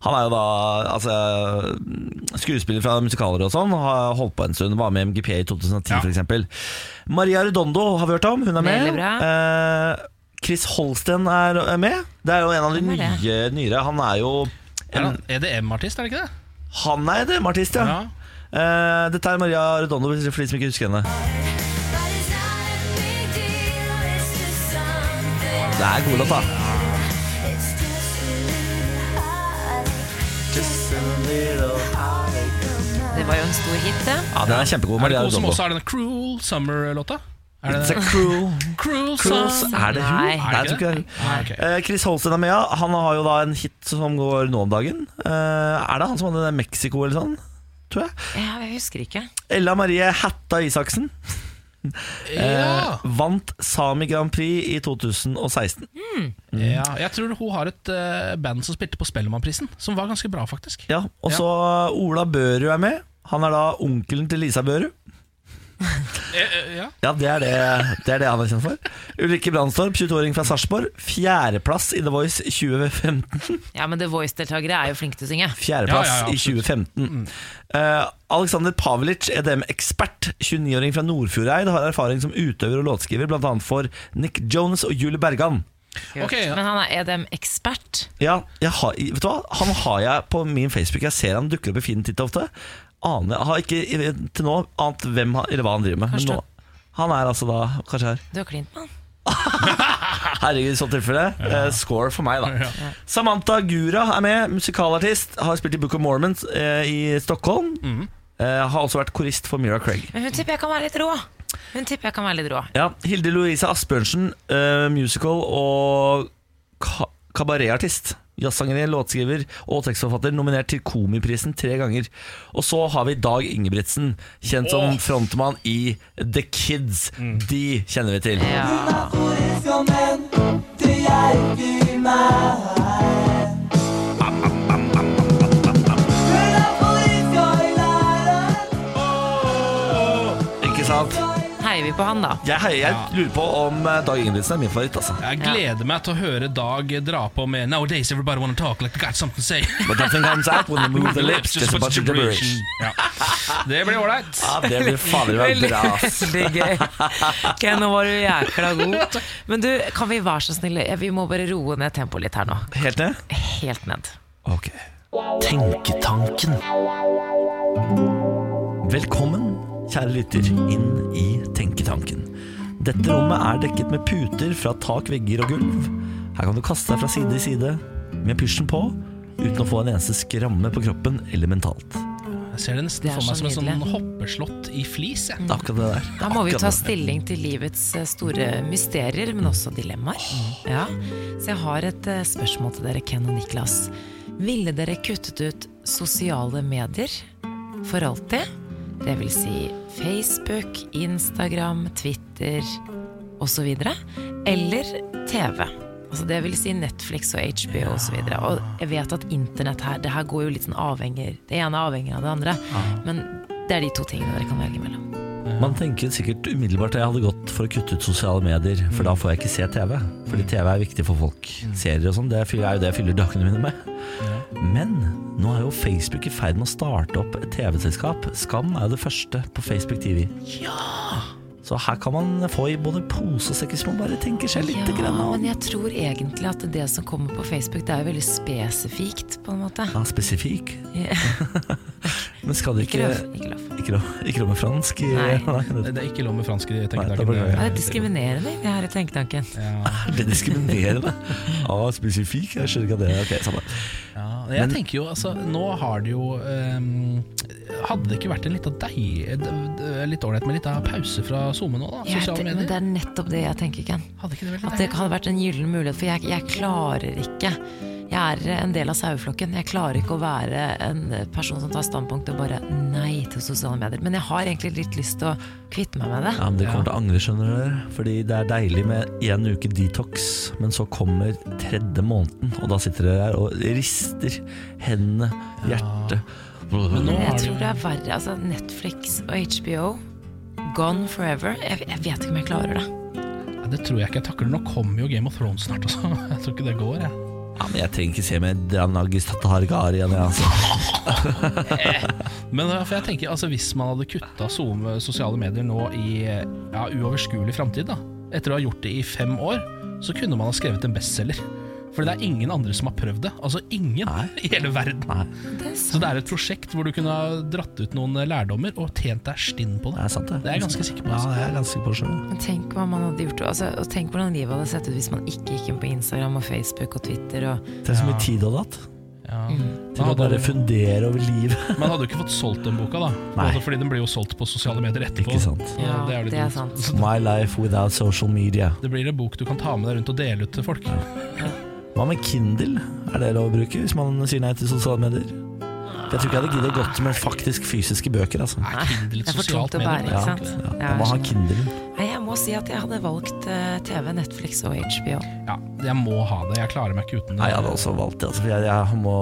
Han er jo da altså, skuespiller fra musikaler og sånn. Har holdt på en stund. Var med i MGP i 2010 Ja. for f.eks. Maria Redondo har vi hørt om. Hun er Veldig med. bra. Eh, Chris Holsten er er med. Det er jo en av de Hvem er nye, det? nyere. Han er jo Er han EDM-artist, er det ikke det? Han er EDM-artist, ja. Ja. Eh, dette er Maria Redondo, for de som ikke husker henne. Det er god låt, da. Det var jo en stor hit, det. Ja, den er kjempegod. Er det Maria hun som Redondo. også har den Cruel Summer-låta? Er It's det a cruel Cruel Cruise. Summer? Er det hun? Nei. Nei, jeg tror ikke det er hun. Ah, ok. Eh, Chris Holsten er med, ja. Han har jo da en hit som går nå om dagen. Eh, er det han som hadde den i Mexico eller sånn? Tror jeg. Ja, jeg husker ikke. Ella Marie Hætta Isaksen eh, Ja. vant Sami Grand Prix i 2016. ja, jeg tror hun har et eh, band som spilte på Spellemannprisen, som var ganske bra, faktisk. Ja, Og så Ola Børud er med. Han er da onkelen til Lisa Børud. Eh, eh, ja. Ja, det er det, det er det han er kjent for. Ulrikke Brandstorp, 22-åring fra Sarpsborg. Fjerdeplass i The Voice 2015. Ja, men The Voice-deltakere er jo flinke til å synge. Fjerdeplass Ja, ja, ja, i absolutt. Mm. 2015. Eh, Alexander Pavlic, EDM-ekspert, 29-åring fra Nordfjordeid, har erfaring som utøver og låtskriver, bl.a. for Nick Jones og Julie Bergan. Kult. Ok, ja. Men han er EDM-ekspert. Ja, jeg har, vet du hva? Han har jeg på min Facebook. Jeg ser han dukker opp i Finn titt og ofte. Aner, jeg har ikke til nå ant hvem han, eller hva han driver med. Kanskje Men nå, han er altså da kanskje her. Du har klint med han. Herregud, i så tilfelle. Eh, score for meg, da. Samantha Gura er med, musikalartist. Har spilt i Book of Mormon eh, i Stockholm. Eh, har også vært korist for Mira Craig. Men hun tipper jeg kan være litt rå. Hun tipper jeg kan være litt rå. Ja, Hilde Louise Asbjørnsen, eh, musical og ka kabaretartist. Jazzsanger, låtskriver og tekstforfatter, nominert til Komiprisen tre ganger. Og så har vi Dag Ingebrigtsen, kjent som frontmann i The Kids. De kjenner vi til. Ikke sant? Heier vi på han, da? Jeg, heier- jeg lurer på om eh, Dag Ingebrigtsen er min favoritt, altså. Jeg gleder meg til å høre Dag dra på med Nowadays everybody wanna talk like they got something to say. But nothing comes out when you move the lips, just a bunch of gibberish. Ja. Det blir ålreit. Ja, det blir fader meg bra. ass. Veldig gøy. Ok, nå var du jækla god. Men du, kan vi være så snille? Vi må bare roe ned tempoet litt her nå. Helt ned? Helt ned. Ok. Tenketanken. Velkommen, kjære lytter, inn i Tenketanken. Dette rommet er dekket med puter fra tak, vegger og gulv. Her kan du kaste deg fra side til side med pysjen på, uten å få en eneste skramme på kroppen eller mentalt. Jeg ser det nesten Det er for meg som så en sånn nydelig. hoppeslott i flis. Jeg. Det er akkurat det der. Da må vi jo Akkurat ta det. stilling til livets eh, store mysterier, men også dilemmaer. Ja. Så jeg har et eh, spørsmål til dere, Ken og Niklas. Ville dere kuttet ut sosiale medier for alltid? Det vil si Facebook, Instagram, Twitter osv. Eller TV. Altså det vil si Netflix og HBO osv. Og jeg vet at internett her, det her går jo litt sånn avhenger Det ene avhenger av det andre. Men det er de to tingene dere kan velge mellom. Man tenker sikkert umiddelbart at jeg hadde gått for å kutte ut sosiale medier, for da får jeg ikke se TV. Fordi Mm. TV er viktig for folk. Serier og sånn, det fyller- er jo det jeg fyller dagene mine med. Men nå er jo Facebook i ferd med å starte opp et TV-selskap. Skam er jo det første på Facebook TV. Så her kan man få i både pose og sekk hvis man bare tenker seg litt Ja, grann om. men jeg tror egentlig at det som kommer på Facebook, det er jo veldig spesifikt, på en måte. Ja, spesifikk. Ja. Men skal det Ikke ikke lov. Ikke lov. Ikke lov ikke lov med fransk? i- Nei. Det det er ikke lov med fransk i da blir det- tenkedagen. Ja, Det er diskriminerende, det her i tenketanken. Er det diskriminerende? Ja, spesifikk? Jeg skjønner ikke at det er ok. Samme. Ja, jeg tenker jo, altså, nå har det jo ehm, Hadde det ikke vært en lita deig d- d- Litt ålreit med litt av pause fra SoMe nå, da? Jeg, Sosiale men det medier? er nettopp det jeg tenker, Ken. Hadde ikke det vært At litt det deilig? hadde vært en gyllen mulighet, for jeg, jeg klarer ikke Jeg er en del av saueflokken. Jeg klarer ikke å være en person som tar standpunkt og bare nei til sosiale medier. Men jeg har egentlig litt lyst til å kvitte meg med det. Ja, men Dere kommer til å angre, skjønner dere. Fordi det er deilig med én uke detox, men så kommer tredje måneden, og da sitter dere der og rister hendene, hjertet nå Jeg har du- tror det er verre. Altså Netflix og HBO, gone forever. Jeg, jeg vet ikke om jeg klarer det. Ja, det tror jeg ikke jeg takler. Nå kommer jo Game of Thrones snart, altså. Jeg tror ikke det går, jeg. Ja, men jeg trenger ikke se med Dranagis Tatargarian, jeg, altså. Men eh, for jeg tenker, altså, hvis man hadde kutta SoMe sosiale medier nå i eh, ja, uoverskuelig framtid, da, etter å ha gjort det i fem år, så kunne man ha skrevet en bestselger. Fordi det er ingen andre som har prøvd det. Altså ingen i hele verden. Det er Så det er et prosjekt hvor du kunne ha dratt ut noen eh, lærdommer og tjent deg stinn på Det det. er sant, det. Det er jeg ganske sikker på. Ja, Altså. det er jeg ganske sikker på sjøl. Men tenk hva man hadde gjort altså, og Tenk hvordan livet hadde sett ut hvis man ikke gikk inn på Instagram og Facebook og Twitter og Tenk så mye tid du hadde hatt Ja. Mm. til å Man bare hadde- fundere over livet. Man hadde jo ikke fått solgt den boka, da. Nei. Altså, fordi den blir jo solgt på sosiale medier etterpå. Ikke sant. Så det er jo litt det er dumt. sant. Så My life without social media. Det blir en bok du kan ta med deg rundt og dele ut til folk. Hva med Kindle? Er det lov å bruke hvis man sier nei til sosiale medier? Jeg tror ikke jeg hadde giddet godt med faktisk fysiske bøker, altså. Er Kindle et Det er for tungt sosialt å bære, medium? ikke Ja, sant? ja. Ja, Man må ha jeg skjønner. Kindle. Nei, jeg må si at jeg hadde valgt eh, TV, Netflix og HBO. Ja, jeg må ha det. Jeg klarer meg ikke uten det. Nei, jeg hadde også valgt det. Altså, for jeg, jeg må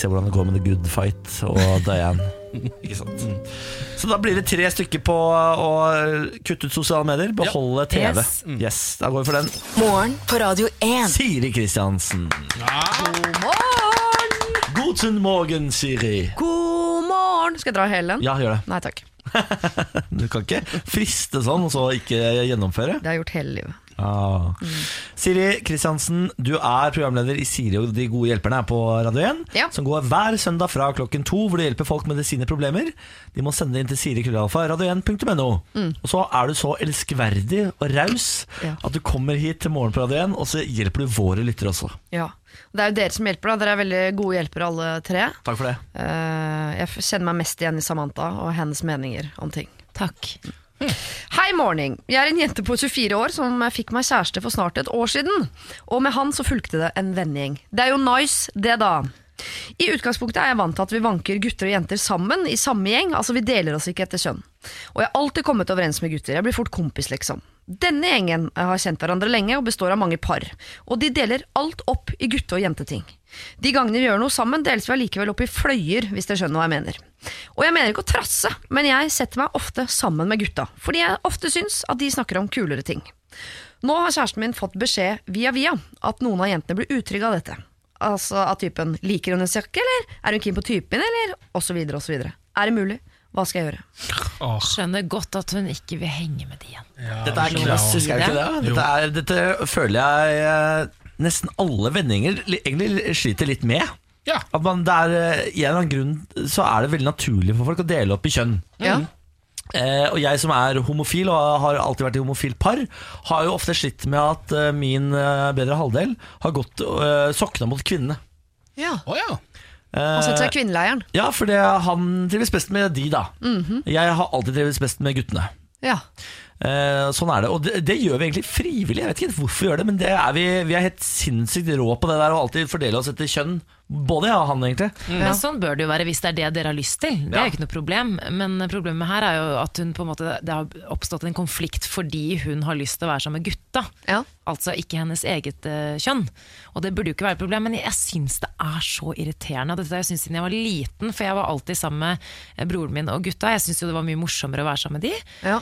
se hvordan det går med The Good Fight og Diane. Ikke sant? Så da blir det tre stykker på å kutte ut sosiale medier, beholde TV. Yes. Mm. Yes. Da går vi for den. Morgen på Radio 1. Siri Kristiansen. Guten morgen, Siri. God morgen! Skal jeg dra hele den? Ja, gjør det. Nei takk. Du kan ikke friste sånn, og så ikke gjennomføre. Det har jeg gjort hele livet. Ah. Mm. Siri Kristiansen, du er programleder i Siri og de gode hjelperne her på Radio 1, Ja. som går hver søndag fra klokken to, hvor du hjelper folk med sine problemer. De må sende det inn til sirikrøllalfa, radio1.no. Og så er du så elskverdig og raus Mm. Ja. at du kommer hit til morgen på Radio 1, og så hjelper du våre lyttere også. Ja. Det er jo dere som hjelper, da. Dere er veldig gode hjelpere, alle tre. Takk for det. Eh, jeg f- kjenner meg mest igjen i Samantha og hennes meninger om ting. Takk. Hei, morning. Jeg er en jente på 24 år som fikk meg kjæreste for snart et år siden. Og med han så fulgte det en vennegjeng. Det er jo nice, det da. I utgangspunktet er jeg vant til at vi vanker gutter og jenter sammen i samme gjeng. Altså vi deler oss ikke etter kjønn. Og jeg har alltid kommet overens med gutter. Jeg blir fort kompis, liksom. Denne gjengen har kjent hverandre lenge og består av mange par. Og de deler alt opp i gutte- og jenteting. De gangene vi gjør noe sammen, deles vi allikevel opp i fløyer, hvis dere skjønner hva jeg mener. Og jeg mener ikke å trasse, men jeg setter meg ofte sammen med gutta, fordi jeg ofte syns at de snakker om kulere ting. Nå har kjæresten min fått beskjed via via at noen av jentene blir utrygge av dette. Altså av typen 'liker hun en jakke', eller 'er hun keen på typen', eller osv. osv. Er det mulig? Hva skal jeg gjøre? Skjønner godt at hun ikke vil henge med de igjen. Dette er klassisk, er det ikke det? Dette, er, dette føler jeg eh, nesten alle vendinger li- egentlig sliter litt med. Ja. At man, det er, eh, i en eller annen grunn så er det veldig naturlig for folk å dele opp i kjønn. Ja. Eh, og jeg som er homofil, og har alltid vært i homofilt par, har jo ofte slitt med at eh, min eh, bedre halvdel har gått eh, sokna mot kvinnene. Å ja. Og setter seg i kvinneleiren. Ja, for det, han trives best med de, da. Jeg har alltid trivdes best med guttene. Ja. Eh, sånn er det. Og det, det gjør vi egentlig frivillig. Jeg vet ikke helt hvorfor vi gjør det, men det er vi, vi er helt sinnssykt rå på det der å alltid fordele oss etter kjønn. Både jeg og han, egentlig. Men sånn bør det jo være hvis det er det dere har lyst til. Det er jo ikke noe problem. Men problemet her er jo at hun på en måte, det har oppstått en konflikt fordi hun har lyst til å være sammen med gutta. Ja. Altså ikke hennes eget eh, kjønn. Og det burde jo ikke være et problem, men jeg syns det er så irriterende. Dette har jeg syntes siden jeg var liten, for jeg var alltid sammen med eh, broren min og gutta. Jeg syns jo det var mye morsommere å være sammen med de. Ja.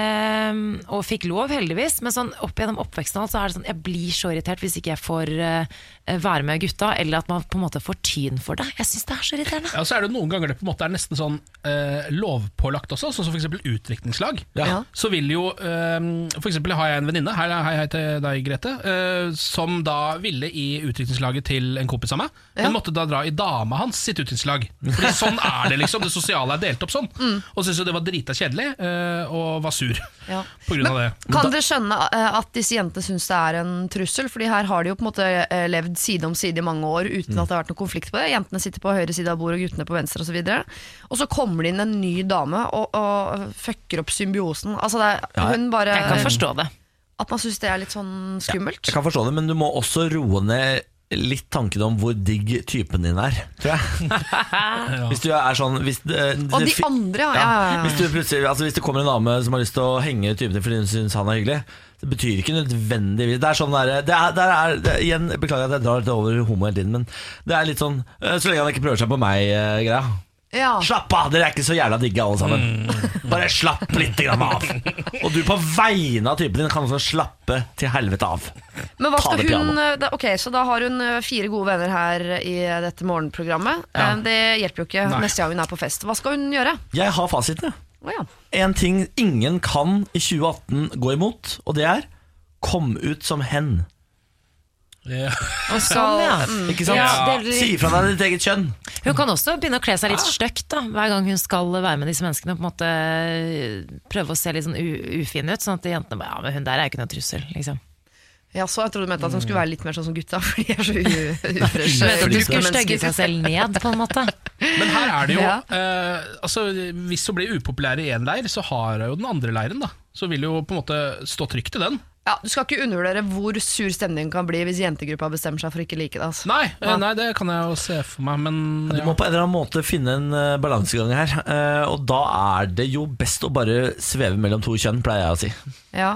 Ehm, og fikk lov, heldigvis. Men sånn opp gjennom oppveksten og alt, så er det sånn, jeg blir så irritert hvis ikke jeg får eh, være med gutta, eller at man på en måte får tyn for det. Jeg syns det er så irriterende. ja. Så er det noen ganger det på en måte er nesten sånn eh, lovpålagt også, sånn som f.eks. utdrikningslag. Ja. Så vil jo eh, F.eks. har jeg en venninne, hei, hei, hei til deg, Grete, eh, som da ville i utdrikningslaget til en kompis av meg, men måtte da dra i dama hans sitt utdrikningslag. Fordi sånn er det, liksom. Det sosiale er delt opp sånn. Mm. Og syntes jo det var drita kjedelig, eh, og var sur Ja. på grunn av det. Kan dere skjønne eh, at disse jentene syns det er en trussel? Fordi her har de jo på en måte eh, levd side om side i mange år uten at det har vært noen konflikt på det. Jentene sitter på høyre side av bordet og guttene på venstre osv. Og så kommer det inn en ny dame og, og fucker opp symbiosen. Altså det er, hun bare Jeg kan forstå det. At man syns det er litt sånn skummelt. Jeg kan forstå det, men du må også roe ned litt tanken om hvor digg typen din er, tror jeg. Hvis du er sånn hvis, eh, Og de det fi- andre, ja. ja, ja, ja, ja. Hvis, du plutselig- altså hvis det kommer en dame som har lyst til å henge typen din fordi hun syns han er hyggelig, det betyr ikke nødvendigvis Det er sånn der, det er, det er, det er, Igjen, beklager at jeg drar litt over homo hele tiden, men det er litt sånn eh, Så lenge han ikke prøver seg på eh, meg-greia. ja. Slapp av, dere er ikke så jævla digge alle sammen. Bare slapp litt grann av. Og du på vegne av typen din kan også slappe til helvete av. Men Ta hva skal det piano. hun eh, da, Ok, så da har hun eh, fire gode venner her i dette morgenprogrammet. Eh, Det hjelper jo ikke neste gang hun er på fest. Hva skal hun gjøre? Jeg har fasiten, jeg. Å ja. En ting ingen kan i 2018 gå imot, og det er Kom ut som hen. Ja. Og sånn, ja. Ikke sant? Ja, det er litt- Si ifra deg ditt eget kjønn. Hun kan også begynne å kle seg litt stygt da, hver gang hun skal være med disse menneskene. På en måte øh, Prøve å se litt sånn u ufin ut, sånn at jentene bare Ja, men hun der er jo ikke noe trussel, liksom. Ja, så jeg trodde du mente at hun skulle være litt mer sånn som gutta, for de er så u- ufresh. Men Du mennesker. skulle stygge seg selv ned, på en måte. Men her er det jo Ja. eh, altså, Hvis hun blir upopulær i én leir, så har hun jo den andre leiren. da Så vil hun jo på en måte stå trygt i den. Ja, du skal ikke undervurdere hvor sur stemningen kan bli hvis jentegruppa bestemmer seg for å ikke like det. Altså. Nei, eh, nei, det kan jeg jo se for meg, men Du ja. må på en eller annen måte finne en eh, balansegang her. eh, Og da er det jo best å bare sveve mellom to kjønn, pleier jeg å si. Ja.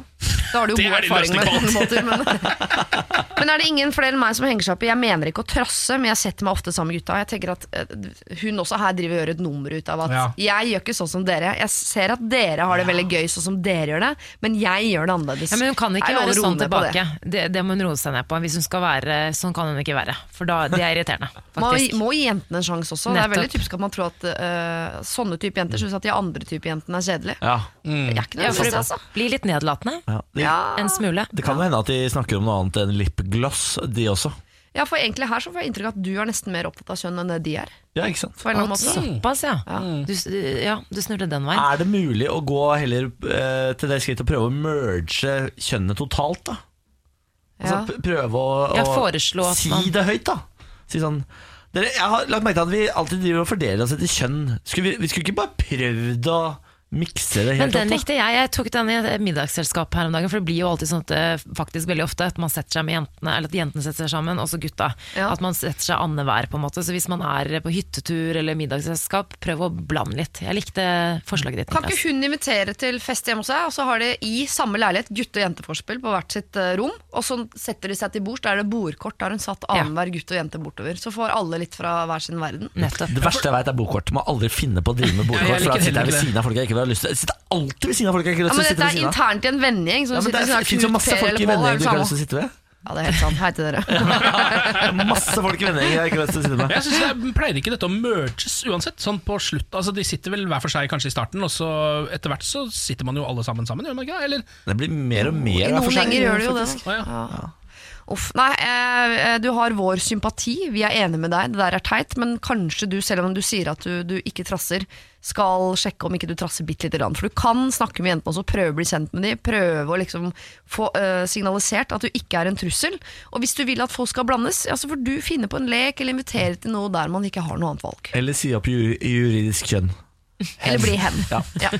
Da har du jo Det god er din erfaring med beste sånne måter. Men, men er det ingen flere enn meg som henger seg opp i Jeg mener ikke å trasse, men jeg setter meg ofte sammen med gutta. Jeg tenker at eh, Hun også her driver og gjør et nummer ut av at Ja. jeg gjør ikke sånn som dere. Jeg ser at dere har det veldig gøy sånn som dere gjør det, men jeg gjør det annerledes. Ja, men hun kan ikke Er det lov å være roe sånn ned på det? tilbake. Det, det må hun roe seg ned på. Hvis hun skal være Sånn kan hun ikke være. For da, det er irriterende, Man faktisk. må gi jentene en sjanse også. Det er veldig Nettopp. typisk at man tror at eh, sånne type jenter syns at de andre type jentene er kjedelige. Ja. Jeg er ikke Ja, noe for sånn, altså. bli litt nedlatende. Mm. Ja. De, En smule. Det kan jo hende at de snakker om noe annet enn lipgloss, de også. Ja, for egentlig her så får jeg inntrykk av at du er nesten mer opptatt av kjønn enn det de er. Ja, ikke sant? På en eller annen måte. Såpass, ja. Du, s- ja. du snurrer den veien. Er det mulig å gå heller eh, til det skrittet å prøve å merge kjønnet totalt, da? Altså, Ja. p- prøve å, å Ja, foreslå at si man- det høyt, da. Si sånn dere, Jeg har lagt merke til at vi alltid driver og fordeler oss etter kjønn. Skulle vi, vi skulle ikke bare prøvd å mikse det Men helt den opp, da? likte jeg. Jeg tok den i et middagsselskap her om dagen. For det blir jo alltid sånn at eh, faktisk veldig ofte at man setter seg med jentene, eller at jentene setter seg sammen, og så gutta. Ja. At man setter seg annenhver, på en måte. Så hvis man er eh, på hyttetur eller middagsselskap, prøv å blande litt. Jeg likte forslaget ditt. Kan ikke Niklas. hun invitere til fest hjemme hos seg, og så har de i samme leilighet gutte- og jenteforspill på hvert sitt eh, rom, og så setter de seg til bords, da er det bordkort, da har hun satt annenhver gutt og jente bortover. Så får alle litt fra hver sin verden. Nettopp. Det verste jeg veit er bokkort. Må aldri finne på å drive med Ja, jeg bokkort. For da liker sitter jeg heller ved siden av ikke det. folk jeg ikke vil ha lyst til. Jeg sitter alltid ved siden av folk jeg ikke har Ja, lyst men til å Dette sitte er ved siden av. internt i en vennegjeng. som Ja, men sitter det ved er- det siden av fins jo Knut, masse Per folk i eller Pål, vennegjengen du er det ikke har samme. lyst til å sitte ved. Ja, det er helt sant. Hei til dere. Masse folk i vennegjengen jeg ikke har lyst til å sitte med. Men jeg synes det er- Pleier ikke dette å merges uansett? Sånn på slutt, altså De sitter vel hver for seg kanskje i starten, og så etter hvert så sitter man jo alle sammen sammen, gjør man ikke det? Eller? Det blir mer og mer I hver for noen seg, gjenger gjør det jo det. faktisk. da. Å, ja. Uff, nei, eh, du har vår sympati, vi er enige med deg, det der er teit, men kanskje du, selv om du sier at du, du ikke trasser, skal sjekke om ikke du trasser bitte lite grann. For du kan snakke med jentene også, prøve å bli kjent med dem, prøve å liksom få eh, signalisert at du ikke er en trussel. Og hvis du vil at folk skal blandes, ja, så får du finne på en lek eller invitere til noe der man ikke har noe annet valg. Eller si opp ju- juridisk kjønn. Eller bli hen. Ja. Ja.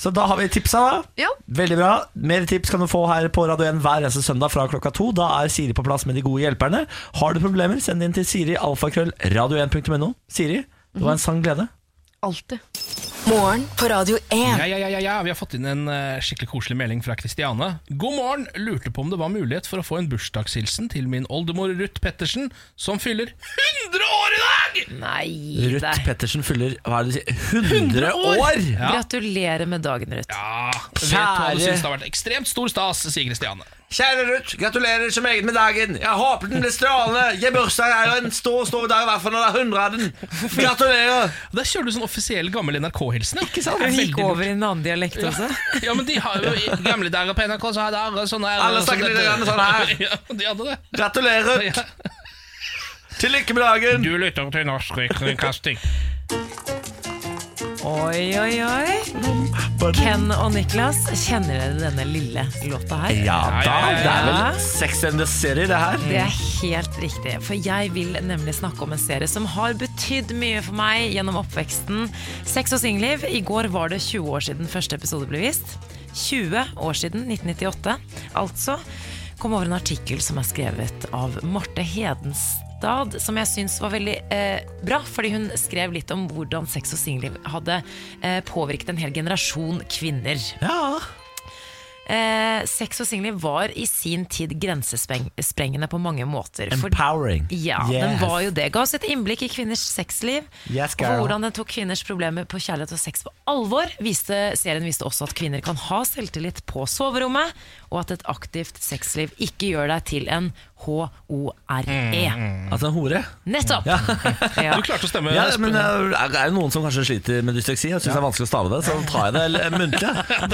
Så da har vi tipsa, da. Ja. Veldig bra. Mer tips kan du få her på Radio 1 hver eneste søndag fra klokka to. Da er Siri på plass med de gode hjelperne. Har du problemer, send det inn til Siri alfakrøll radio1.no. Siri, det var en sann glede. Alltid. Morgen på Radio 1. Ja, ja, ja, ja, ja, vi har fått inn en eh, skikkelig koselig melding fra Kristiane. God morgen! Lurte på om det var mulighet for å få en bursdagshilsen til min oldemor Ruth Pettersen, som fyller 100 år i dag! Nei, Ruth der. Pettersen fyller hva er det du sier, 100 år! Gratulerer med dagen, Ruth. Ja, Ah, vet hva Kjære- du synes det har vært ekstremt stor stas, sier Kristiane. Kjære Ruth, gratulerer så meget med dagen. Jeg håper den blir strålende. Jeg bursdag er jo en stor, stor dag, i hvert fall når det er 100 av den. Gratulerer! Der kjører du sånn offisiell gammel NRK-hilsen. Ikke sant? Hun gikk over i en annen dialekt også. Ja, men de har jo i gamle dager på NRK så hadde alle sånne her, Alle snakker sånne- litt grann sånn her. Ja, de hadde det. Gratulerer, Ruth. Ja. Til lykke med dagen. Du lytter til norsk rikskringkasting. Oi, oi, oi. Ken og Niklas, kjenner dere denne lille låta her? Ja da, ja, ja. det er vel Sex and the City, det her. Det er helt riktig, for jeg vil nemlig snakke om en serie som har betydd mye for meg gjennom oppveksten. Sex og singelliv. I går var det 20 år siden første episode ble vist. 20 år siden 1998. Altså kom over en artikkel som er skrevet av Marte Hedenstad, som jeg syns var veldig eh, bra. Fordi hun skrev litt om hvordan sex og singelliv hadde eh, påvirket en hel generasjon kvinner. Ja. Eh, sex og singelliv var i sin tid grensesprengende på mange måter. fordi- Empowering. ja, den Yes. var jo det. Ga oss et innblikk i kvinners sexliv. Yes, og girl. hvordan den tok kvinners problemer på kjærlighet og sex på alvor. Viste, serien viste også at kvinner kan ha selvtillit på soverommet, og at et aktivt sexliv ikke gjør deg til en H-O-R-E. Altså en hore. E. Nettopp! Ja. Du klarte å stemme. Ja, Espen. men eh, er det noen som kanskje sliter med dysleksi og syns det er vanskelig å stave det, så tar jeg det eller, eh, muntlig.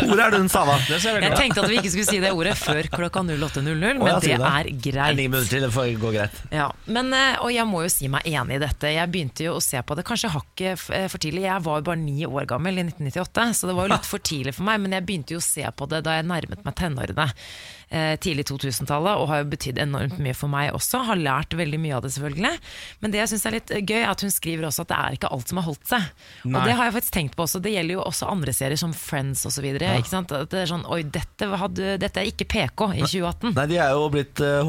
Hore er det hun stava. det ser veldig Jeg bra. tenkte at vi ikke skulle si det ordet før klokka 08.00, Å, men ja, det sier er greit. Ni minutter til, det får gå greit. Ja, men, eh, og jeg må jo si meg enig i dette. Jeg begynte jo å se på det kanskje hakket f- eh, for tidlig. Jeg var jo bare ni år gammel i 1998, så det var jo litt for tidlig for meg. Men jeg begynte jo å se på det da jeg nærmet meg tenårene eh, tidlig 2000-tallet, og har jo betydd enormt mye for meg også. Har lært veldig mye av det, selvfølgelig. Men det jeg syns er litt eh, gøy, er at hun skriver også at det er ikke alt som har holdt seg. Nei. Og det har jeg faktisk tenkt på også. Det gjelder jo også andre serier, som Friends osv. Det er sånn Oi, dette, hadde, dette er ikke PK i 2018. Nei, de er jo blitt eh,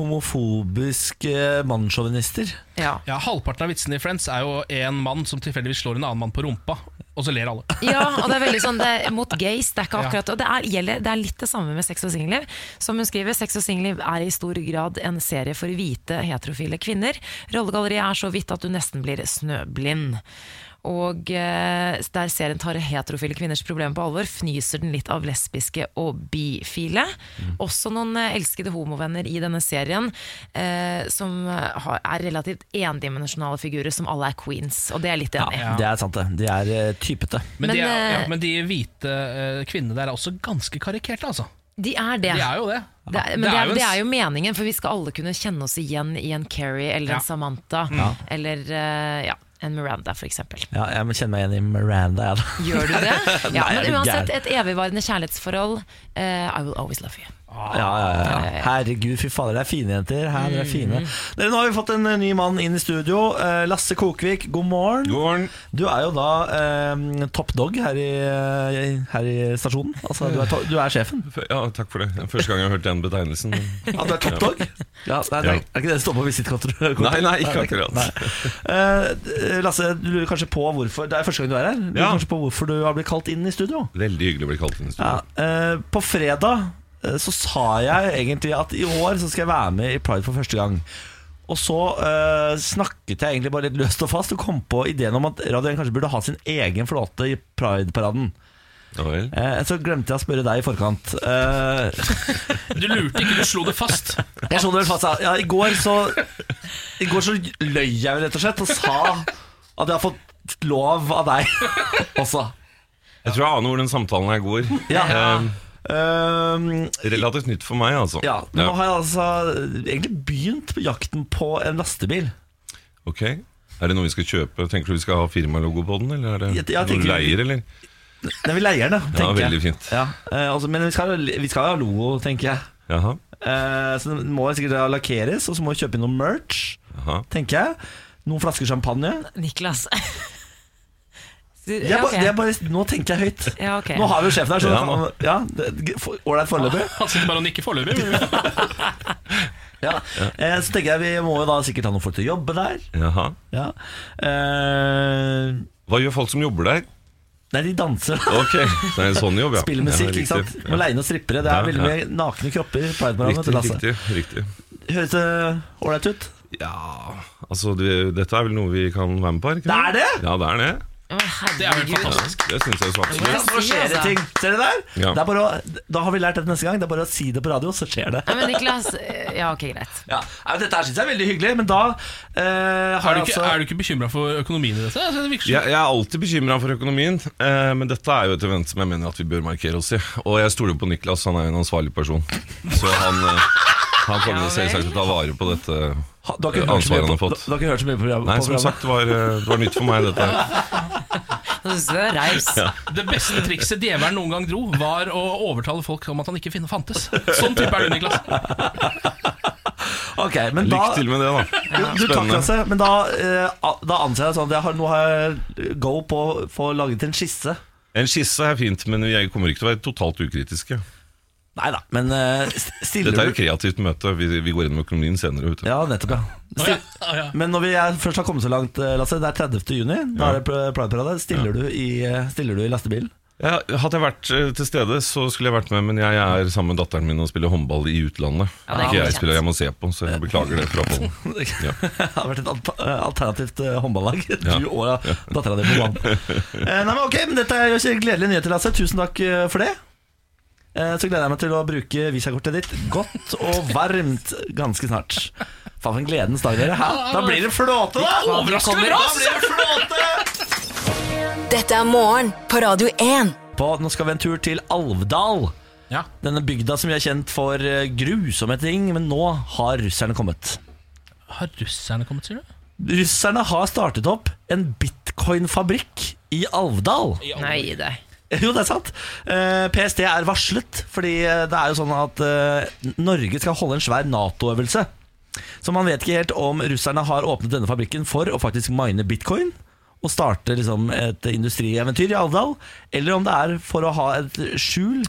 homofobiske mannssjåvinister. Ja. Ja, Halvparten av vitsene i Friends er jo en mann som tilfeldigvis slår en annen mann på rumpa, og så ler alle. Ja, og det er veldig sånn det, er mot gays. Det er ikke akkurat Og det er, gjelder, det er litt det samme med sex og singelliv. Som hun skriver, sex og singelliv er i stor grad en serie for hvite, heterofile kvinner. Rollegalleriet er så vidt at du nesten blir snøblind. Og eh, der serien tar heterofile kvinners problemer på alvor, fnyser den litt av lesbiske og bifile. Mm. Også noen eh, elskede homovenner i denne serien eh, som eh, har, er relativt endimensjonale figurer, som alle er queens. Og det er jeg litt enig i. Det er sant, det. De er eh, typete. Men, de, Men, er, ja, eh, men de hvite eh, kvinnene der er også ganske karikerte, altså. De er det. De er jo det. Det er, men det er, en det er jo meningen, for vi skal alle kunne kjenne oss igjen i en Carrie eller Ja. en Samantha eller eh, ja, en Miranda f.eks. Ja, jeg kjenner meg igjen i Miranda. Jeg, da. Gjør du det? Ja, Nei, jeg men er uansett, gæren. et evigvarende kjærlighetsforhold. eh, I will always love you. Ja, ja, ja. Herregud, fy fader, det er fine jenter. Her, dere er fine. Dere, Nå har vi fått en eh, ny mann inn i studio. Eh, Lasse Kokvik, god morgen. God morgen. Du er jo da eh, top dog her i, eh, her i stasjonen. Altså, du er, to du er sjefen. F- Ja, takk for det. Det er Første gang jeg har hørt den betegnelsen. Ja, du er top dog? Ja, nei, nei, Ja. Er ikke det det står på visittkontoret? Nei, nei, ikke akkurat. Eh, Lasse, du lurer kanskje på hvorfor Det er første gang du er her. Du lurer Ja. kanskje på hvorfor du har blitt kalt inn i studio. Veldig hyggelig å bli kalt inn i studio. Ja, eh, på fredag eh, så sa jeg egentlig at i år så skal jeg være med i Pride for første gang. Og så eh, snakket jeg egentlig bare litt løst og fast og kom på ideen om at Radio 1 kanskje burde ha sin egen flåte i Pride-paraden. Ja vel. Eh, så glemte jeg å spørre deg i forkant. Eh, Du lurte ikke, du slo det fast. jeg slo det vel fast da. ja, i, går så, I går så løy jeg vel rett og slett og sa at jeg har fått lov av deg også. Jeg tror jeg aner hvor den samtalen her går. Ja. Eh, Um, Relativt nytt for meg, altså. Ja, men nå har jeg altså egentlig begynt på jakten på en lastebil. Ok. Er det noe vi skal kjøpe? Tenker du vi skal ha firmalogo på den, eller er det Jeg- jeg noe tenker- du leier, eller? Nei, vi leier den, Ja, tenker veldig jeg. fint. Ja, eh, altså, men vi skal, vi skal ha logo, tenker jeg. Jaha. Eh, så den må sikkert lakkeres, og så må vi kjøpe inn noe merch, Jaha. tenker jeg. Noen flasker champagne. Niklas. Jeg ja, ba, ok. jeg bare, nå tenker jeg høyt. Ja, ok. Ah. Nå har vi jo sjefen her, så Ja, da kan- ja, det- for- ålreit foreløpig. Han sitter bare og nikker foreløpig. men- Ja. Eh, så tenker jeg vi må jo da sikkert ha noen folk til å jobbe der. Jaha. Ja. Eh, Hva gjør folk som jobber der? nei, de danser. Ok, så er det en sånn jobb, ja. Spiller musikk, ikke sant. riktig. Må leie noen strippere. Det er Ja, veldig ja. mye nakne kropper. i Pride-morgenen, vet du, Riktig, Lasse. riktig, riktig. Høres det ålreit ut? Ja, altså det, dette er vel noe vi kan være med på? er Ikke? Det er det! Ja, det er det. Å, Det er vel herregud. fantastisk. Det syns jeg så absolutt. Ja. Nå skjer det ting. Ser dere der? Ja. Det er bare å, da har vi lært dette neste gang. Det er bare å si det på radio, så skjer det. Nei, men Niklas eh, Ja, ok, greit. Ja, Nei, men Dette her syns jeg er veldig hyggelig, men da eh, Er har du jeg ikke, altså er du ikke bekymra for økonomien i dette? Altså, det virker Jeg, som- jeg er alltid bekymra for økonomien, eh, men dette er jo et event som jeg mener at vi bør markere oss i. Og jeg stoler på Niklas, han er jo en ansvarlig person. Så han, eh, han kommer Ja vel. selvsagt til å ta vare på dette ha- du har ikke hørt så ansvaret mye han har på, fått. du har ikke hørt så mye på program- Nei, på som programmet? sagt, det var, eh, det var nytt for meg, dette her. Så raus. Det beste trikset djevelen noen gang dro, var å overtale folk om at han ikke fin- fantes. Sånn type er du, Niklas. Ok, men da Lykke til med det, da. du, du, takk, Spennende. Lasse. Men da, eh, a- da anser jeg det sånn at jeg har, nå har jeg go på å få laget en skisse. En skisse er fint, men jeg kommer ikke til å være totalt ukritiske. Nei da, men eh, st- stiller Dette er du- jo kreativt møte. Vi, vi går inn med økonomien senere. Vet du. Ja, nettopp, ja. Å ja, å ja. Men når vi er, først har kommet så langt, eh, Lasse, det er 30. juni, da er det pl- plateparade. Stiller, du i, eh, stiller du i lastebil? Ja, hadde jeg vært eh, til stede, så skulle jeg vært med, men jeg er sammen med datteren min og spiller håndball i utlandet. Ja, det er ikke jeg kjent. spiller, jeg må se på, så jeg beklager det fra Pollen. Det Ja. hadde vært et alter- eh, alternativt eh, håndballag. Ja. Du og dattera di på banen. Eh, Nei, men ok, men dette er jo ikke gledelige nyheter, Lasse. Tusen takk eh, for det. Eh, Så gleder jeg meg til å bruke visakortet ditt godt og varmt ganske snart. Faen for en gledens dag, dere. Hæ? Da blir det flåte, da! Overraskende bra! Da blir det flåte! Dette er morgen på Radio 1. på Nå skal vi en tur til Alvdal Ja. Denne bygda som vi er kjent for eh, grusomme ting Men nå har russerne kommet Har russerne kommet, sier du? Russerne har startet opp en bitcoin-fabrikk i Alvdal Nei, det Jo, det er sant Eh, PST er varslet Fordi eh, det er jo sånn at eh, Norge skal holde en svær NATO-øvelse Så man vet ikke helt om russerne har åpnet denne fabrikken For å faktisk mine bitcoin Og starte liksom et industrieventyr i Alvdal Eller om det er for å ha et skjul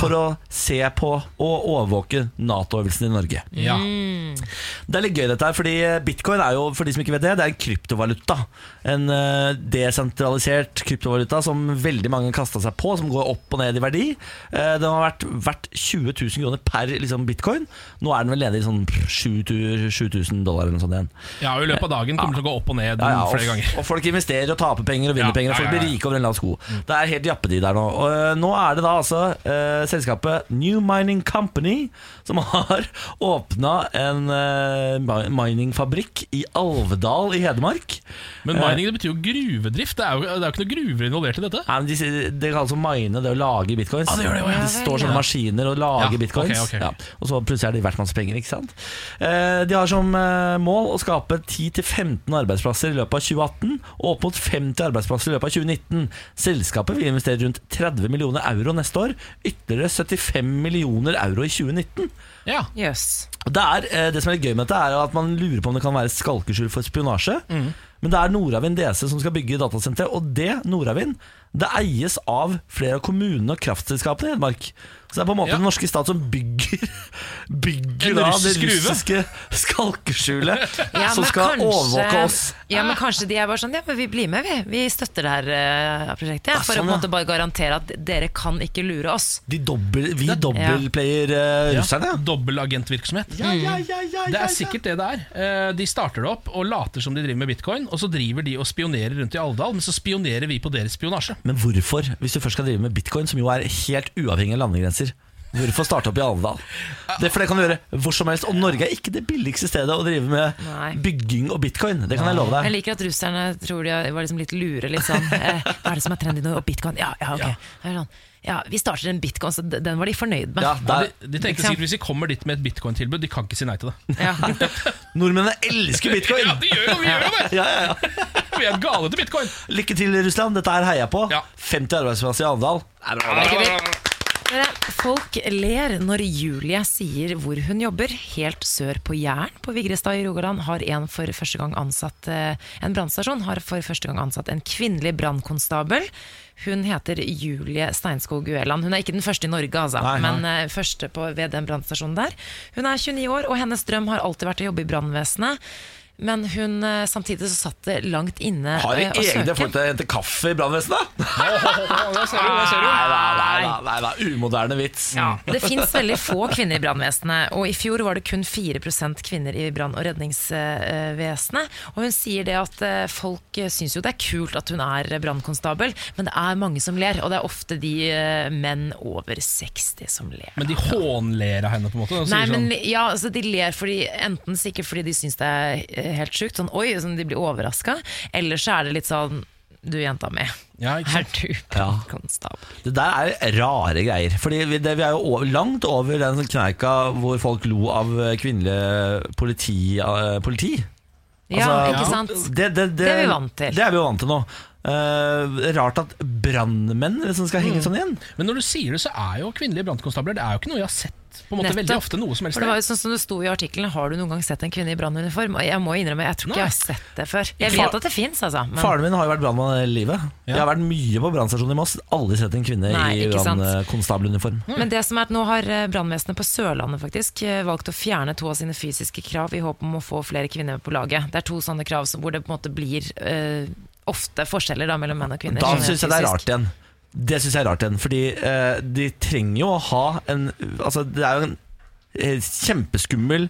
For å se på og overvåke NATO-øvelsen i Norge Ja. det er litt gøy dette her, fordi eh, bitcoin er jo, for de som ikke vet det, det er en kryptovaluta. En eh, desentralisert kryptovaluta som veldig mange kasta seg på, som går opp og ned i verdi. Eh, Den har vært verdt 20 000 kroner per liksom, bitcoin. Nå er den vel nede i sånn 7000 dollar eller noe sånt igjen. ja, og i løpet av dagen kommer det til å gå opp og ned Ja, ja, og, flere ganger. og folk investerer og taper penger og vinner Ja, penger, og ja, folk ja, Mm. ja. blir rike over en lav sko. Det er helt jappetid der nå. Og eh, nå er det da altså eh, selskapet New Mining Company som har åpna en eh, mi- miningfabrikk i Alvdal i Hedmark. Eh. Men mining det betyr jo gruvedrift. Det er jo, det er jo ikke noe gruver involvert i dette. Nei, men de, sier- det kalles å mine, det å lage bitcoins. Ah, det gjør det jo, ja. De står sånne maskiner og lager Ja, bitcoins. ok, ok, ok. Ja. Og så plutselig er de verdt masse penger. ikke sant? Eh, de har som eh, mål å skape 10-15 arbeidsplasser i løpet av 2018 og opp mot 50 arbeidsplasser i løpet av 2019. Selskapet vil investere rundt 30 millioner euro neste år. Ytterligere 75 millioner euro i 2019. Ja. Jøss. Og Det, er, eh, det som er litt gøy med dette, er at man lurer på om det kan være et skalkeskjul for spionasje. Mm. Men det er Nordavind DC som skal bygge datasenteret, og det Nordavind det eies av flere av kommunene og kraftselskapene i Hedmark. Så det er på en måte Ja. den norske stat som bygger, bygger En da, det russisk gruve. russiske skalkeskjulet Ja, som men skal kanskje- overvåke oss. Ja, men kanskje de er bare sånn Ja, men vi blir med, vi. Vi støtter det her eh, prosjektet. Ja, Ja, for sånn, å på en ja. måte bare garantere at dere kan ikke lure oss. De dobbel, vi dobbeltplayer eh, russerne. Dobbel agentvirksomhet. Ja, ja, ja, ja, Det ja, er sikkert det det er. Eh, De starter det opp og later som de driver med bitcoin, og så driver de og spionerer rundt i Alvdal, men så spionerer vi på deres spionasje. Men hvorfor, hvis du først skal drive med bitcoin, som jo er helt uavhengig av landegrenser, hvorfor starte opp i Alvdal? Det, for det kan du gjøre hvor som helst, og Norge er ikke det billigste stedet å drive med Nei. bygging og bitcoin. Det kan jeg love Jeg deg. liker at russerne tror de var liksom litt lure, litt sånn eh, Hva er det som er trendy nå? Og bitcoin? Ja, ja, ok. Det er Sånn. Ja, vi starter en bitcoin, så d- den var de fornøyd med. Ja, Ja, der, de, de tenkte Ikke sant? sikkert Hvis de kommer dit med et bitcoin-tilbud, de kan ikke si nei til det. Ja. nordmennene elsker bitcoin! Ja, de gjør jo, vi gjør jo det! Ja, ja, ja. Vi er gale til bitcoin! Lykke til, Russland. Dette her heier jeg på. Ja. 50 arbeidsplasser i Alvdal. Det er bra. Dere, Folk ler når Julie sier hvor hun jobber. Helt sør på Jæren på Vigrestad i Rogaland har en for første gang ansatt eh, En brannstasjon har for første gang ansatt en kvinnelig brannkonstabel. Hun heter Julie Steinskog Ueland. Hun er ikke den første i Norge, altså, Nei, nei. men eh, første på, ved den brannstasjonen der. Hun er 29 år, og hennes drøm har alltid vært å jobbe i brannvesenet. Men hun, eh, samtidig så satt det langt inne Har de eh, å egne søke. folk til å hente kaffe i brannvesenet? altså, Nei, Der ser du, der nei, ser du. nei, nei, nei, nei, umoderne vits. Mm. Det finnes veldig få kvinner i brannvesenet, og i fjor var det kun 4 kvinner i brann- og redningsvesenet. Og hun sier det at eh, folk eh, syns jo det er kult at hun er brannkonstabel, men det er mange som ler, og det er ofte de eh, menn over 60 som ler. Men de hånler av henne, på en måte. Og Nei, sier men sånn, ja, altså, De ler fordi, enten sikkert fordi de syns det er eh, helt sjukt, sånn oi, sånn, de blir overraska, eller så er det litt sånn du, jenta mi, ja, ikke er sant? du Ja. brannkonstabel? Det der er rare greier. Fordi vi, det, vi er jo over, langt over den sånn kneika hvor folk lo av eh, kvinnelig politi. eh, politi. Ja, Altså, ikke ja. sant? Det, det, det, Det er vi vant til. Det er vi jo vant til nå. Eh, rart at Mm. brannmenn liksom skal henge sånn igjen. Men når du sier det, så er jo kvinnelige brannkonstabler Det er jo ikke noe jeg har sett på en måte Nettopp. veldig ofte noe som helst. For det var jo sånn som det sto i artikkelen, har du noen gang sett en kvinne i brannuniform? Og jeg må innrømme, jeg tror ikke Nei. jeg har sett det før. Jeg Fa- vet at det fins, altså. Men Faren min har jo vært brannmann hele livet. Jeg har vært mye på brannstasjonen i Moss. Aldri sett en kvinne Nei, i ikke sant. brannkonstabeluniform. Men det som er at nå har eh, brannvesenet på Sørlandet faktisk eh, valgt å fjerne to av sine fysiske krav i håp om å få flere kvinner på laget. Det er to sånne krav som, hvor det på en måte blir eh, ofte forskjeller da, mellom menn og kvinner. Da generelt syns jeg det er fysisk. rart igjen. Det synes jeg er rart igjen, fordi eh, de trenger jo å ha en Altså, det er jo en eh, kjempeskummel,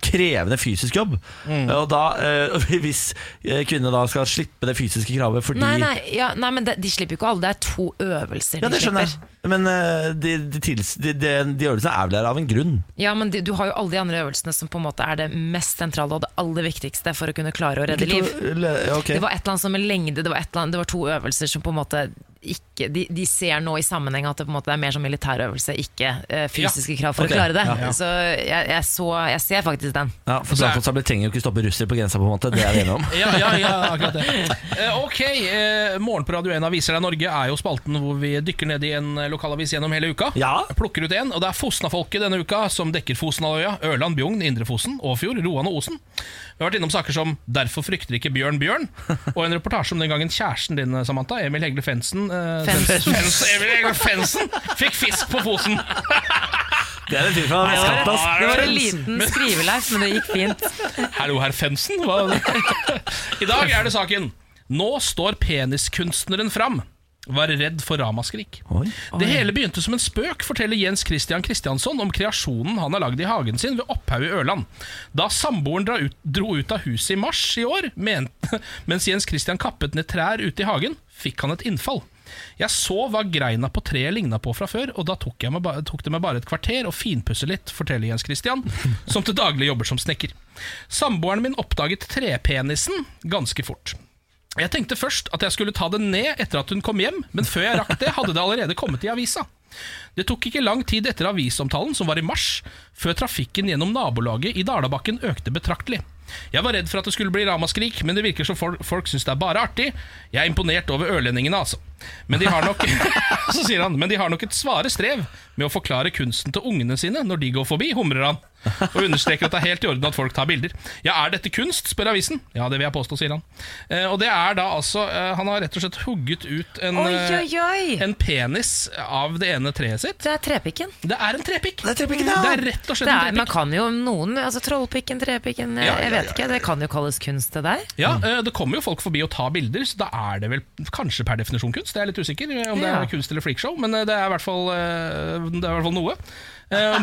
krevende fysisk jobb. Mm. Eh, Og da, eh, hvis eh, kvinnene da skal slippe det fysiske kravet fordi Nei, nei, ja, nei men de, de slipper jo ikke alle. Det er to øvelser Ja, det de skjønner slipper. jeg. Men eh, de, de, tils- de, de, de øvelsene er vel der av en grunn. Ja, men de, du har jo alle de andre øvelsene som på en måte er det mest sentrale og det aller viktigste for å kunne klare å redde liv. Okay. Det var et eller annet som med lengde, det var, et eller annet, det var to øvelser som på en måte ikke De, de ser nå i sammenheng at det på en måte er mer som militærøvelse, ikke eh, fysiske krav for ok, å klare det. ja. Så jeg, jeg så Jeg ser faktisk den. Ja, for brannkonstabler trenger jo ikke stoppe russere på grensa, på en måte. Det er vi enige om. Ja, ja, ja, akkurat det. Eh, ok, eh, Morgen på Radio 1 Aviser deg Norge er jo spalten hvor vi dykker ned i en eh, lokalavis gjennom hele uka. Ja. Plukker ut en, og det er Fosnafolket denne uka som dekker Fosenhalvøya, Ørland, Bjugn, Indre Fosen, Åfjord, Roan og Osen. Vi har vært innom saker som 'Derfor frykter ikke bjørn bjørn', og en reportasje om den gangen kjæresten din, eh, Samantha, Emil Hegle Fensen, eh, Fensen. Fens, Emil Hegle Fensen fikk fisk på Fosen. Det er en fyr fra vestkanten, ass. Det var en liten skriveleif, men det gikk fint. Hallo, herr Fensen. Hva? I dag er det saken. Nå står peniskunstneren fram. Var redd for ramaskrik. Oi. Det hele begynte som en spøk, forteller Jens Christian Kristiansson om kreasjonen han har lagd i hagen sin ved Opphaug i Ørland. Da samboeren dra ut, dro ut av huset i mars i år, mente- mens Jens Christian kappet ned trær ute i hagen, fikk han et innfall. Jeg så hva greina på treet ligna på fra før, og da tok, jeg meg ba tok det meg bare et kvarter å finpusse litt, forteller Jens Christian, som til daglig jobber som snekker. Samboeren min oppdaget trepenisen ganske fort. Jeg tenkte først at jeg skulle ta den ned etter at hun kom hjem, men før jeg rakk det, hadde det allerede kommet i avisa. Det tok ikke lang tid etter avisomtalen, som var i mars, før trafikken gjennom nabolaget i Dalabakken økte betraktelig. Jeg var redd for at det skulle bli ramaskrik, men det virker som folk, folk syns det er bare artig. Jeg er imponert over ørlendingene, altså. Men de har nok Så sier han, men de har nok et svare strev med å forklare kunsten til ungene sine når de går forbi, humrer han. Og understreker at det er helt i orden at folk tar bilder. Ja, er dette kunst? spør avisen. Ja, det vil jeg påstå, sier han. Eh, og det er da altså eh, Han har rett og slett hugget ut en, Oi, eh, oi, oi! en penis av det ene treet sitt. Det er trepikken. Det er en trepikk. Det er, rett og slett Det er, en man trepikk. kan jo noen altså Trollpikken, trepikken, jeg, Ja, ja, jeg vet ikke. Det kan jo kalles kunst, det der. Ja, eh, Det kommer jo folk forbi og tar bilder, så da er det vel kanskje per definisjon kunst. Jeg er litt usikker eh, om det Ja. er kunst eller freakshow, men eh, det er i hvert fall, eh, det er i hvert fall noe. Eh,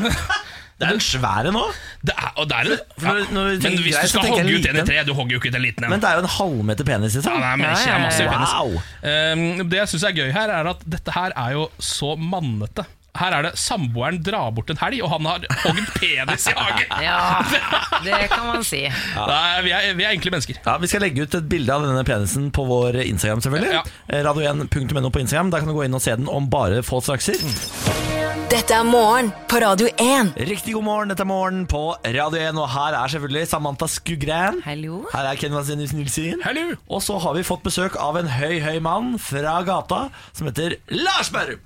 Det er en svær en òg. Det er, og det er en, For når- når vi ja, men tenker hvis greit, så du skal tenker jeg hogge ut en i liten. tre, du hogger jo ikke ut en liten en. Men det er jo en halvmeter penis, liksom. Ja, det er mye, det er massiv penis. Wow. Ehm, det jeg syns er gøy her, er at dette her er jo så mannete. Her er det samboeren drar bort en helg, og han har hogd penis i hagen! Ja, det kan man si. Nei, vi, er, vi er enkle mennesker. Ja, Vi skal legge ut et bilde av denne penisen på vår Instagram. selvfølgelig Ja. Eh, Radio1.no på Instagram. Der kan du gå inn og se den om bare få strakser. Dette er morgen på Radio 1. Riktig god morgen, dette er Morgen på Radio 1, og her er selvfølgelig Samantha Skugran. Hallo. Her er Ken Vasenius Nilsen. Hallo. Og så har vi fått besøk av en høy, høy mann fra gata som heter Lars Berrum.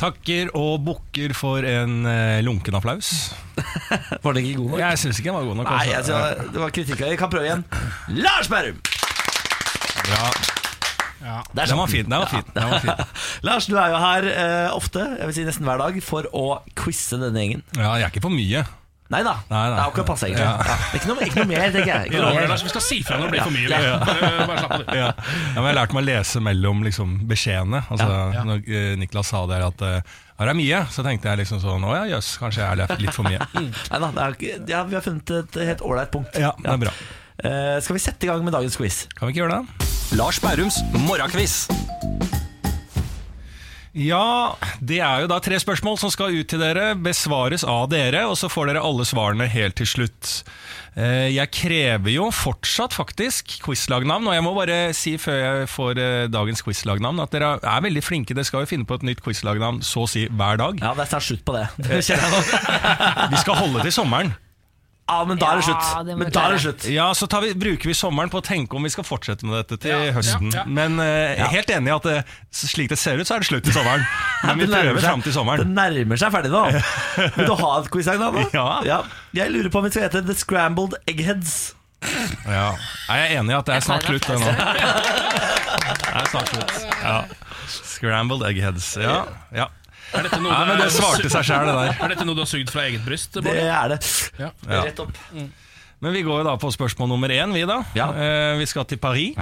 Takker og bukker for en eh, lunken applaus. Var den ikke god nok? Jeg syns ikke den var god nok. Nei, altså. jeg synes, det var kritikk. Jeg kan prøve igjen. Lars Berrum! Ja, sånn. Der den var satt fin. Den var fin. Den var fin. Lars, du er jo her eh, ofte, jeg vil si nesten hver dag, for å quize denne gjengen. Ja, jeg er ikke for mye. Nei da. Nei, Det nei. er akkurat passe, egentlig. Ja. Ja. Ikke, noe, ikke noe mer, tenker jeg. Ikke noe Lover det, mer. Lars, vi skal si fra når det blir for mye. vi. Eh, Bare slapp av, du. Ja. Ja, men jeg har lært meg å lese mellom liksom, beskjedene. Altså, Ja, ja. Når eh, Niklas sa der at eh, her er mye, så tenkte jeg liksom sånn Å ja, jøss, kanskje jeg har lært litt for mye. Nei da, det er ikke- ja, vi har funnet et helt ålreit punkt. Ja, det er bra. Eh, skal vi sette i gang med dagens quiz? Kan vi ikke gjøre det? Lars Bærums morgenkviss. Ja, det er jo da tre spørsmål som skal ut til dere, besvares av dere, og så får dere alle svarene helt til slutt. Eh, Jeg krever jo fortsatt faktisk quizlagnavn, og jeg må bare si før jeg får eh, dagens quizlagnavn at dere er veldig flinke, dere skal jo finne på et nytt quizlagnavn så å si hver dag. Ja, det er snart slutt på det. det. kjenner jeg nå. Vi skal holde til sommeren. Ja, men da er det slutt. Ja, men da er det slutt. Ja, Så tar vi, bruker vi sommeren på å tenke om vi skal fortsette med dette til Ja, høsten. ja, ja. Men eh, jeg er helt enig i at det, slik det ser ut, så er det slutt til sommeren. Men vi Det nærmer prøver seg- fram til sommeren. Det nærmer seg ferdig nå. Vil du ha et quizlag da? da? Ja. Jeg lurer på om vi skal hete The Scrambled Eggheads. Ja. Er jeg er enig i at det er snart Jeg slutt? tar Det det. nå. Det er snart slutt. Ja. Scrambled eggheads. Ja. ja. Er dette noe Nei, du- men det svarte seg selv, det der. Er dette noe du har sugd fra eget bryst? Bård? Det er det. Ja. Ja. Rett opp. Men vi går jo da på spørsmål nummer én, vi da. Eh, vi skal til Paris.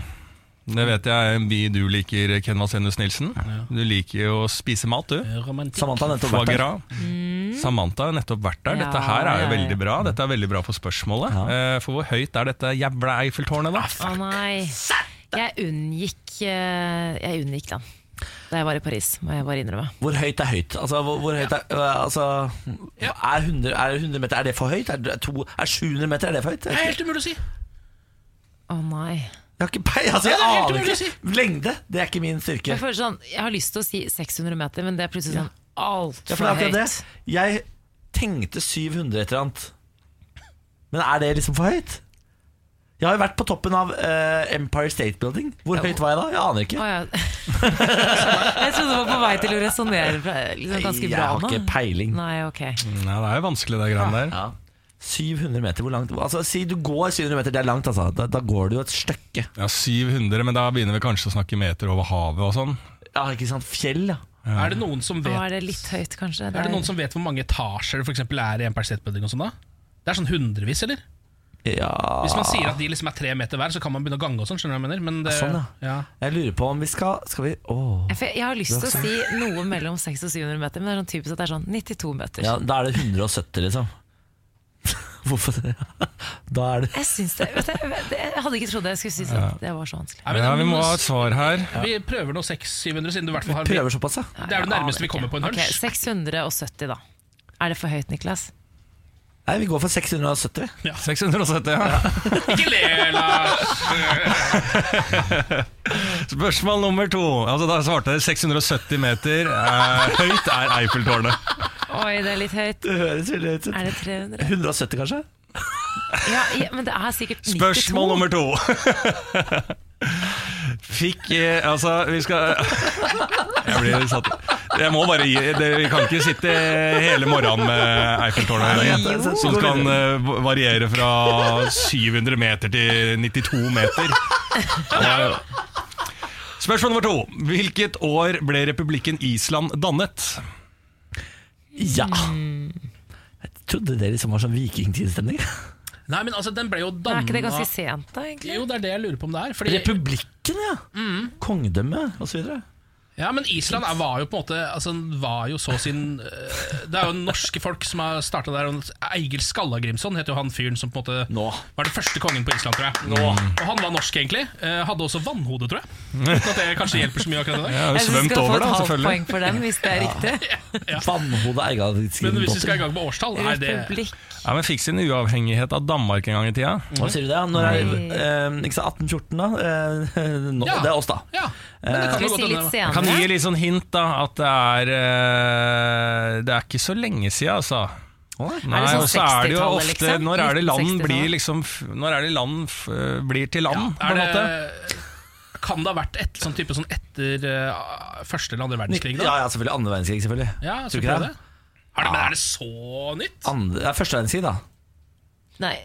Det vet jeg er en by du liker, Ken Vasenius Nilsen. Du liker jo å spise mat, du. Romantikk. Samantha har nettopp Foie vært der. gras. Samantha har nettopp vært der. Dette Ja, her er jo ja, ja. veldig bra. Dette er veldig bra for spørsmålet. Eh, for hvor høyt er dette jævla Eiffeltårnet, da? Å nei. Jeg unngikk eh, Jeg unngikk den da jeg var i Paris, må jeg bare innrømme. Hvor høyt er høyt? Altså, hvor, hvor høyt er, øh, altså, er, 100, er 100 meter Er det for høyt? Er, det to, er 700 meter er det for høyt? Det er helt umulig å si. Å nei. Jeg har ikke peil, altså, jeg Ja, det er helt aner umulig å ikke. Lengde, det er ikke min styrke. Jeg, føler sånn, jeg har lyst til å si 600 meter, men det er plutselig sånn Ja, altfor for det er akkurat høyt. det. Jeg tenkte 700 et eller annet. Men er det liksom for høyt? Jeg har jo vært på toppen av eh, Empire State Building. Hvor høyt var jeg da? Jeg aner ikke. Å, ja. jeg trodde du var på vei til å resonnere liksom ganske jeg bra har nå. ikke peiling. Nei, ok. Nei, det er jo vanskelig, det greiene der. 700 meter, hvor langt Altså, Si du går 700 meter, det er langt, altså. Da, da går du jo et stykke. Ja, 700, men da begynner vi kanskje å snakke meter over havet og sånn. Ja, ikke sant. Fjell, ja. Er det noen som vet Nå er det litt høyt, kanskje. Er det noen som vet hvor mange etasjer det for eksempel er i Empire State Building? og sånn da? Det er sånn hundrevis, eller? Ja Hvis man sier at de liksom er tre meter hver, så kan man begynne å gange og sånn. skjønner du hva jeg mener? Men det, Ja, sånn, Jeg lurer på om vi skal Skal vi Åh. Jeg, jeg har lyst til å Det er si noe mellom 600 og 700 meter, men det er sånn typisk at det er sånn 92 meter. Ja, da er det 170, liksom. Hvorfor det? Da er det Jeg syns det vet du, det- Jeg hadde ikke trodd jeg skulle si sånn. Ja. Det var så vanskelig. men- Ja, vi må ha et svar her. Vi prøver nå 600-700, siden du i hvert fall har Prøver såpass, ja. Det er det nærmeste vi kommer på en Ok, hunch. 670, da. Er det for høyt, Niklas? Nei, vi går for 670. Ja. 670, ja. Ikke le, Lars! Spørsmål nummer to. Altså, da svarte dere 670 meter. Eh, høyt er Eiffeltårnet. Oi, det er litt høyt. Det høres veldig høyt ut. Er det 300? 170, kanskje? Ja, ja, men det er sikkert 92. Spørsmål nummer to. Fikk eh, Altså, vi skal Jeg blir satt Jeg må bare gi det, Vi kan ikke sitte hele morgenen med Eiffeltårnet her Jo. lenge. Som kan eh, variere fra 700 meter til 92 meter. Ja. Spørsmål nummer to. Hvilket år ble republikken Island dannet? Ja. Mm. Jeg trodde det liksom var sånn vikingtidsstemning. Nei, men altså, den ble jo Men danna Er ikke det ganske sent, da, egentlig? Jo, det er det jeg lurer på om det er. Fordi, Republikken, ja. Mm. Kongedømme osv. ja, men Island er, var jo på en måte altså, den var jo så sin øh, Det er jo norske folk som har starta der. og Eigil Skallagrimson heter jo han fyren som på en måte var den første kongen på Island, tror jeg. Og han var norsk, egentlig. Eh, hadde også vannhode, tror jeg. Uten at det kanskje hjelper så mye akkurat i dag. Jeg har jo svømt over, da, selvfølgelig. for dem, hvis det er riktig. Vannhode Men hvis Eigadskriven vi skal i gang med årstall, er det Republikk. Ja, men Fikk sin uavhengighet av Danmark en gang i tida. Hva sier du det? Når er, eh, ikke sant, 1814, da? Eh, nå, Ja. Det er oss, da. Ja, men det Eh, kan jo godt hende. Jeg kan gi litt sånn hint, da, at det er eh, Det er ikke så lenge siden, altså. Er Nei, det sånn og så er det jo 60-tallet, ofte liksom? Når er det land 1960-tallet? blir liksom f- Når er det land f blir til land, på Er en måte? det, kan det ha vært et sånn type sånn etter eh, første eller andre verdenskrig? Da? Ja, ja, selvfølgelig. Andre verdenskrig, selvfølgelig. Ja, Tror så ikke prøv det. Er det, men er det så nytt? Andre, det er første verdenskrig, da. Nei.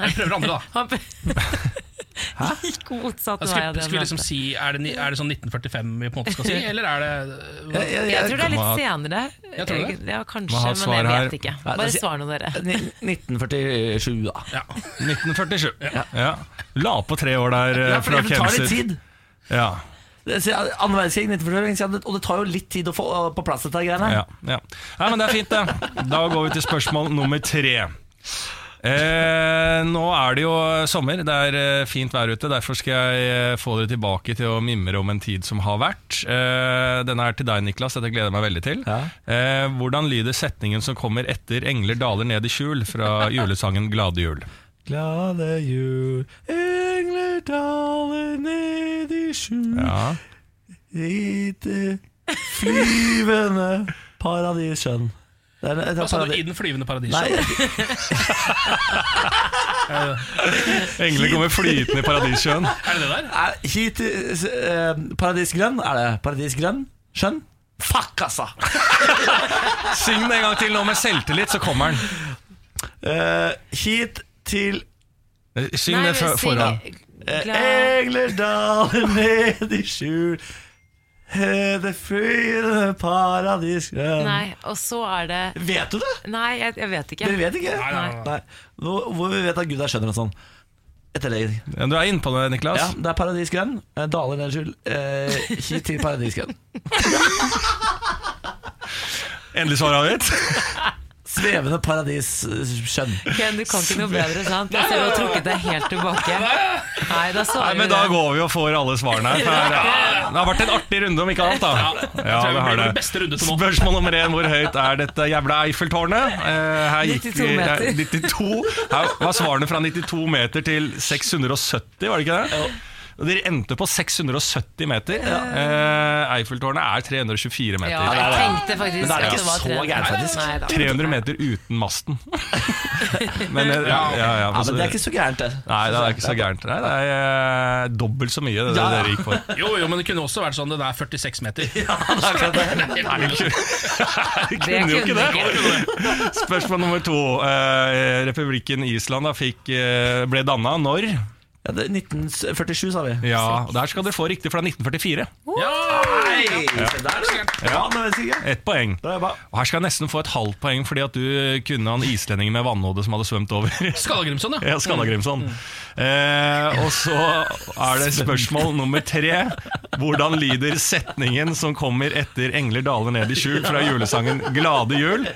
Jeg prøver andre, da. Han gikk motsatt Jeg vei av skulle, skulle det han vi liksom mente. si er det, ni- er det sånn 1945 vi på en måte skal si, eller er det Jeg, tror det er litt senere. Jeg tror det. egentlig. Ja, Må kanskje, ha men svar jeg her. vet ikke. Nei, Bare det- svar nå, dere. 1947, da. Ja. 1947. Ja. La på tre år der eh, Ja, for fra det tar litt Kemser. tid. Ja, Det- så, ja, Andre verdenskrig, 1940, ikke sant? og det tar jo litt tid å få øh, på plass dette greiene. ja, ja. Nei, men det er fint, det. Da går vi til spørsmål nummer tre. Eh, nå er det jo sommer, det er eh, fint vær ute. Derfor skal jeg eh, få dere tilbake til å mimre om en tid som har vært. Eh, denne er til deg, Niklas. Dette gleder jeg meg veldig til. Eh, hvordan lyder setningen som kommer etter 'Engler daler ned i skjul' fra julesangen 'Glade jul'? Glade jul, engler daler ned i skjul. Ja. I det flyvende paradisskjønn. Det er et Hva sa du? paradi- Altså, I den flyvende Nei. paradisjøen? Englene kommer flytende i paradissjøen. Er det det der? Er, hit til eh, Paradisgrønn? Er det Paradisgrønn? Skjønn? Fuck, altså! Syng den en gang til nå med selvtillit, så kommer den. Eh, hit til Syng det fø- foran. Eh, Engler daler ned i skjul eh, Det flyende paradisgrønn Nei, og så er det Vet du det? Nei, jeg, jeg vet ikke. Dere vet ikke? Nei, Nei. Hvor, hvor vi vet at Gud er skjønner og sånn. Etter det. Ja, du er inne på det, Niklas. Ja, det er paradisgrønn. Eh, Daler ned i skjul. Eh, hit til paradisgrønn. Endelig svar avgitt. Svevende paradis eh, skjønn. Ken, du kan ikke noe bedre, sant? Jeg ser du har trukket deg helt tilbake. Ah! Nei, da Nei, svarer men vi da det. går vi og får alle svarene her. For ja, det har vært en artig runde, om ikke annet. da jeg tror det har blir vår beste runde til nå. Spørsmål nummer én hvor høyt er dette jævla Eiffeltårnet? Eh, her gikk 92 vi- meter. ja, 92 Her var svarene fra 92 meter til 670, var det ikke det? Og Dere endte på 670 meter. Eh, Eiffeltårnet er 324 meter. Ja, jeg tenkte faktisk Men da er det at ikke var så tre- gærent, faktisk. Nei da. 300 meter uten masten. Men, eh, ja, ja, Altså, ja, Ja, men det er ikke så gærent, det. Nei, det er ikke så gærent. Nei, det er eh, dobbelt så mye det, det dere gikk for. Jo, jo, men det kunne også vært sånn det der 46 meter. Nei, det kunne, det Det kunne jo ikke kunne det. Spørsmål nummer to. Eh, Republikken Island da fikk, eh, ble danna når? Ja, det er 1947, sa vi. Ja, og Der skal dere få riktig, for det er 1944. Nei! Se der, du. Ja, men vet ikke. Ett poeng. Og Her skal jeg nesten få et halvt poeng fordi at du kunne han islendingen med vannhode som hadde svømt over. Skallagrimson, ja. Ja, Mm, Skallagrimson. Eh, og så er det spørsmål nummer tre. Hvordan lyder setningen som kommer etter 'Engler daler ned i skjul' fra julesangen 'Glade jul'?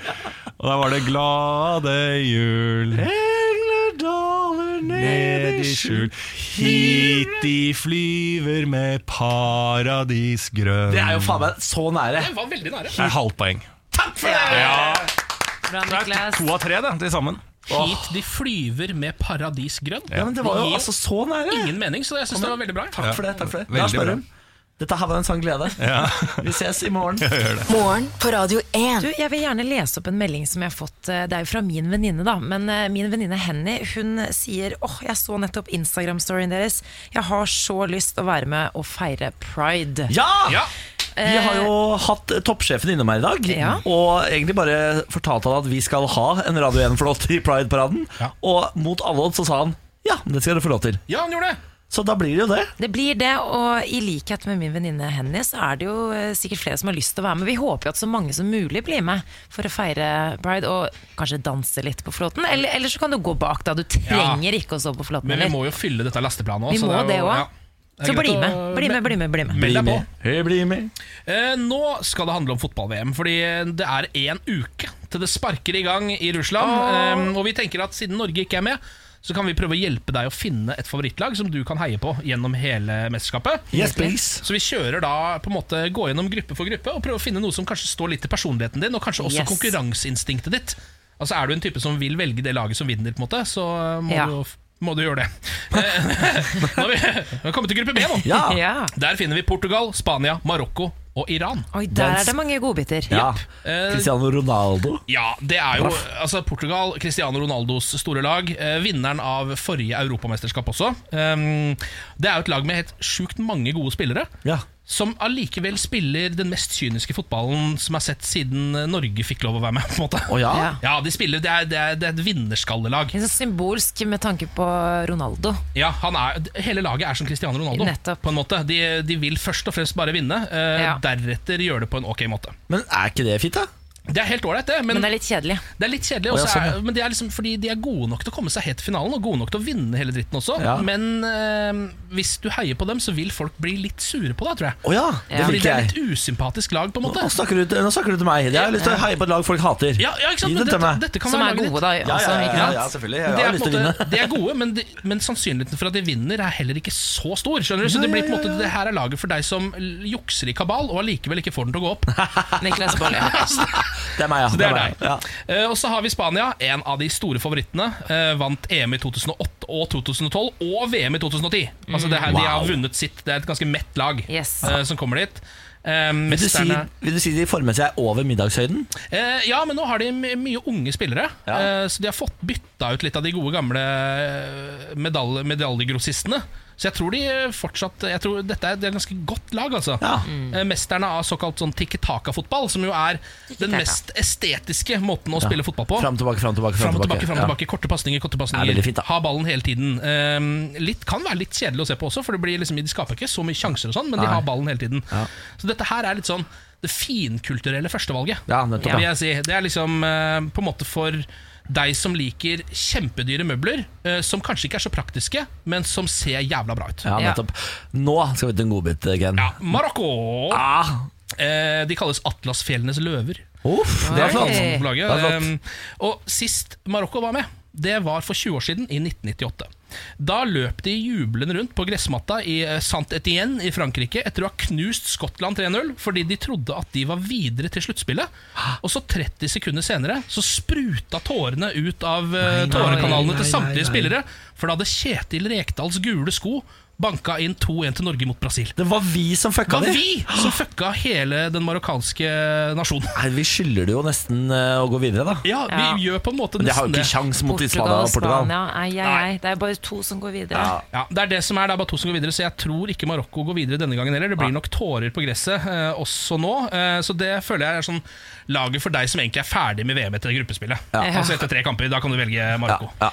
Og der var det 'Glade jul'. Engler daler Ned i skjul, hit de flyver med paradisgrønn Det er jo faen meg så nære. Den var veldig nære. Det er halvt poeng. Ja. Bra, Det er Niklas. to av tre, det, til sammen. Hit de flyver med paradisgrønn. Ja, men det var jo gir altså så nære. ingen mening, så jeg syns det var veldig bra. Takk for det. takk for det Veldig Lars bra. Berrum, dette her var en sann glede. Vi ses i morgen. Morgen på Radio 1. Du, jeg vil gjerne lese opp en melding som jeg har fått. eh, Det er jo fra min venninne, da. Men eh, min venninne Henny hun sier åh, jeg så nettopp Instagram-storyen deres. Jeg har så lyst å være med og feire pride. Ja! Ja. Vi har jo hatt eh, toppsjefen innom her i dag, Ja. og egentlig bare fortalt han at vi skal ha en Radio 1-flåt i Pride-paraden. Og mot alle odds så sa han ja, det skal dere få lov til. Ja, han gjorde det! Så da blir det jo det. Det blir det, og i likhet med min venninne Henny, så er det jo eh, sikkert flere som har lyst til å være med. Vi håper jo at så mange som mulig blir med for å feire pride, og kanskje danse litt på flåten. Eller, eller så kan du gå bak, da. Du trenger ikke å stå på flåten. Men vi heller. må jo fylle dette lasteplanet Vi også, så må er det jo- òg. ja. Det er Så greit bli å- med, bli med, bli med. bli med. Meld deg på. Hei, bli med. Eh, nå skal det handle om fotball-VM, fordi det er én uke til det sparker i gang i Russland. Eh, og vi tenker at siden Norge ikke er med, så kan vi prøve å hjelpe deg å finne et favorittlag som du kan heie på gjennom hele mesterskapet. Yes, please. Så vi kjører da på en måte gå gjennom gruppe for gruppe og prøve å finne noe som kanskje står litt til personligheten din, og kanskje også Yes. konkurranseinstinktet ditt. Altså Er du en type som vil velge det laget som vinner, på en måte så må, Ja. du, må du gjøre det. Eh, nå har vi, vi har kommet til gruppe B nå. Ja. Ja. Der finner vi Portugal, Spania, Marokko og Iran. Oi, der er det mange godbiter. Ja. Eh, Cristiano Ronaldo. Ja, det er jo altså, Portugal, Cristiano Ronaldos store lag. Eh, vinneren av forrige europamesterskap også. Um, det er jo et lag med helt sjukt mange gode spillere. Ja. Som allikevel spiller den mest kyniske fotballen som er sett siden eh, Norge fikk lov å være med. på en måte Å ja. Ja. Ja, de spiller, det, er, det, er, det er et vinnerskallelag. Litt sånn symbolsk med tanke på Ronaldo. Ja, han er, hele laget er som Cristiano Ronaldo. Nettopp. På en måte De, de vil først og fremst bare vinne, eh, Ja. deretter gjøre det på en ok måte. Men er ikke det fint, da? Det er helt ålreit, det. Men det er litt kjedelig. Det er litt kjedelig, Å, ja, også, sånn, ja. er, men det er liksom fordi de er gode nok til å komme seg helt til finalen og gode nok til å vinne hele dritten også. Ja. Men eh, hvis du heier på dem, så vil folk bli litt sure på deg, tror jeg. Å ja, det fordi liker det er jeg. et litt usympatisk lag, på en måte. Nå snakker, du, nå snakker du til meg. Jeg har lyst til å heie på et lag folk hater. Ja, ja, ikke Gi det sant? til Men dette, meg. dette kan være Som er laget gode, ditt. da. Ja, ja, Altså, ja, ikke ja, sant? ja, selvfølgelig. Men Jeg de har er, lyst på til å en vinne. måte, de er gode, men, de, men sannsynligheten for at de vinner er heller ikke så stor. Skjønner du? Så Ja, det blir på ja, en måte det her er laget for deg som l- jukser i kabal og allikevel ikke får den til å gå opp. Niklas Baarli. Det er meg, ja. Så det er meg, deg. ja. Eh, og så har vi Spania, en av de store favorittene. eh, vant EM i 2008 og 2012, og VM i 2010. Altså det her, De Mm. har Wow. vunnet sitt. Det er et ganske mett lag Yes. eh, som kommer dit. Eh, Vil du, si, mesterne- vil du si de former seg over middagshøyden? Eh, ja, men nå har de my- mye unge spillere. Eh, så de har fått bytta ut litt av de gode gamle eh, medal medaljegrossistene. Så jeg tror de eh, fortsatt Jeg tror dette er det er et ganske godt lag, altså. Eh, mesterne av såkalt sånn tikki-taka-fotball, som jo er den Tiki-taka. mest estetiske måten å Ja. spille fotball på. Fram, tilbake, fram, tilbake, Fram fram, og tilbake, fram og Ja. tilbake. Korte pasninger, korte Det er pasninger. veldig fint, da. ha ballen hele tiden. Eh, litt, kan være litt kjedelig å se på også, for det blir liksom, de skaper ikke så mye sjanser, og sånn men de Nei. har ballen hele tiden. Så dette her er litt sånn det finkulturelle førstevalget. Ja, nettopp, vil ja. jeg si. Det er liksom eh, på en måte for deg som liker kjempedyre møbler, eh, som kanskje ikke er så praktiske, men som ser jævla bra ut. Ja, nettopp. Nå skal vi til en godbit, Ken. Ah! Ja, Marokko! Eh, de kalles Atlasfjellenes løver. Uff, det er flott. Sånn på Eh, laget. Det er flott. Um, Og sist Marokko var med, det var for 20 år siden, i 1998. Da løp de jublende rundt på gressmatta i eh, Saint-Étienne i Frankrike etter å ha knust Skottland 3-0 fordi de trodde at de var videre til sluttspillet. Og så 30 sekunder senere så spruta tårene ut av eh, Nei, nei, tårekanalene nei, til nei, samtlige nei. spillere, for da hadde Kjetil Rekdals gule sko banka inn 2-1 til Norge mot Brasil. Det var vi som fucka det. det. var vi som fucka hele den marokkanske nasjonen. Nei, vi skylder det jo nesten eh, å gå videre, da. Ja, vi gjør på en måte Men det har jo nesten ikke sjans mot Spania Portugal og og Portugal. Spania. Ai, ai, ai. Det er bare to som går videre. Ja, det er det som er, det er bare to som går videre, så jeg tror ikke Marokko går videre denne gangen heller. Det blir nok tårer på gresset eh, også nå, eh, så det føler jeg er sånn laget for deg som egentlig er ferdig med VM etter gruppespillet. Ja. Altså etter tre kamper, da kan du velge Marokko. Ja.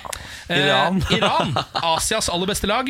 Iran. Eh, Iran, Asias aller beste lag,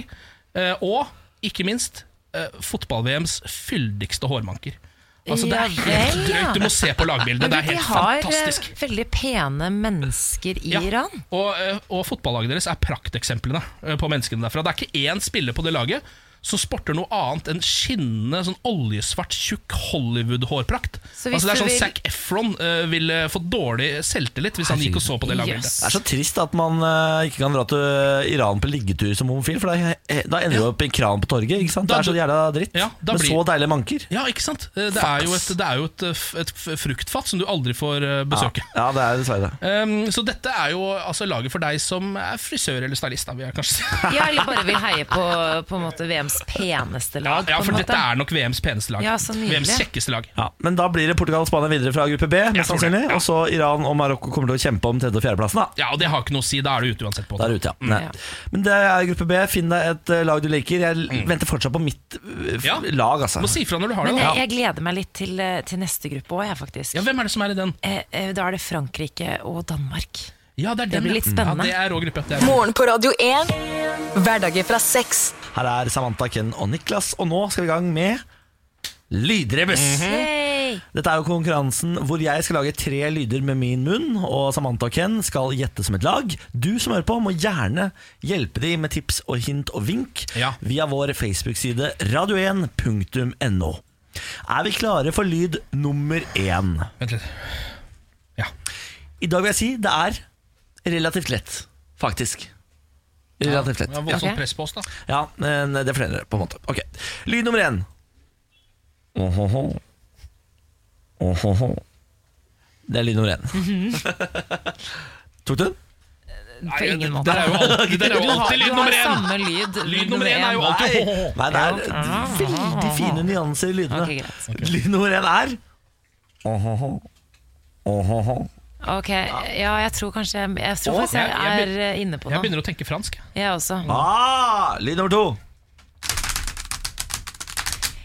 eh, og ikke minst eh, fotball-VMs fyldigste hårmanker. Altså, det er helt Ja vel, ja. drøyt. Du må se på lagbildene. Men Det er de helt har eh, fantastisk. veldig pene mennesker i Iran. Og, eh, og fotballaget deres er prakteksemplene eh, på menneskene derfra. Det er ikke én spiller på det laget som sporter noe annet enn skinnende, sånn oljesvart, tjukk Hollywood-hårprakt. Så Altså, hvis det er du sånn vil- Zac Efron eh, ville fått dårlig selvtillit hvis han gikk og så på det lagbildet. Det er så trist at man eh, ikke kan dra til Iran på liggetur som homofil, for da, eh, da ender du opp i en kran på torget. ikke sant? Det er så jævla dritt. da Men blir- så deilige manker. Ja, ikke sant? Eh, Det Fuck, er jo, ass. et, det er jo et, eh, f- et f- fruktfat som du aldri får eh, besøke. Ja, det er dessverre det. Um, så dette er jo altså, laget for deg som er frisør eller stylist, da, vil jeg kanskje si. Ja, eller bare vil heie på, på en måte VMs peneste lag. Ja, på en for dette måte. er nok VMs peneste lag. Ja, så nydelig. VMs kjekkeste lag. Ja, men da blir det Portugal og Spania videre fra gruppe B, mest tror det, sannsynlig. Og så Iran og Marokko kommer til å kjempe om tredje- og fjerdeplassen. da Ja, og det har ikke noe å si. Da er du ute uansett. på Der ute, ja. Nei. Men det er gruppe B. Finn deg et eh, lag du liker. Jeg l- venter fortsatt på mitt eh, f- lag, altså. Mm. Må si ifra når du har Men det. jeg, jeg gleder meg litt til, eh, til neste gruppe òg, jeg, faktisk. Ja, Hvem er det som er i den? Eh, eh, da er det Frankrike og Danmark. Ja, det er Det den, blir ja. litt spennende. Ja, det er rå gruppe. Det er rå. Morgen på Radio 1. Hverdager fra seks. Her er Samantha, Ken og Niklas, og nå skal vi i gang med Lydrebus. Mhm. Dette er jo konkurransen hvor jeg skal lage tre lyder med min munn, og Samantha og Ken skal gjette som et lag. Du som hører på, må gjerne hjelpe dem med tips og hint og vink via vår Facebook-side radio1.no. Er vi klare for lyd nummer én? Vent litt. I dag vil jeg si det er relativt lett, faktisk. Relativt lett. Det er voldsomt press på oss, da. Ja, men det fortjener dere, på en måte. Ok, Lyd nummer én. Ohoho. Ohoho. Det er lyd nummer én. Tok du den? På ingen måte. Det er jo alltid, det er Du jo har- alltid lyd du nummer har én! samme lyd. Lyd nummer én er jo alltid Nei, nei det er veldig fine nyanser i lydene. Ok, greit. Lyd nummer én er Ohoho. Ohoho. Ok, ja, jeg tror kanskje Jeg, jeg tror Å, faktisk jeg, jeg- jeg er begyn- eh, inne på Jeg noe. begynner å tenke fransk. Jeg også. Ah, lyd nummer to.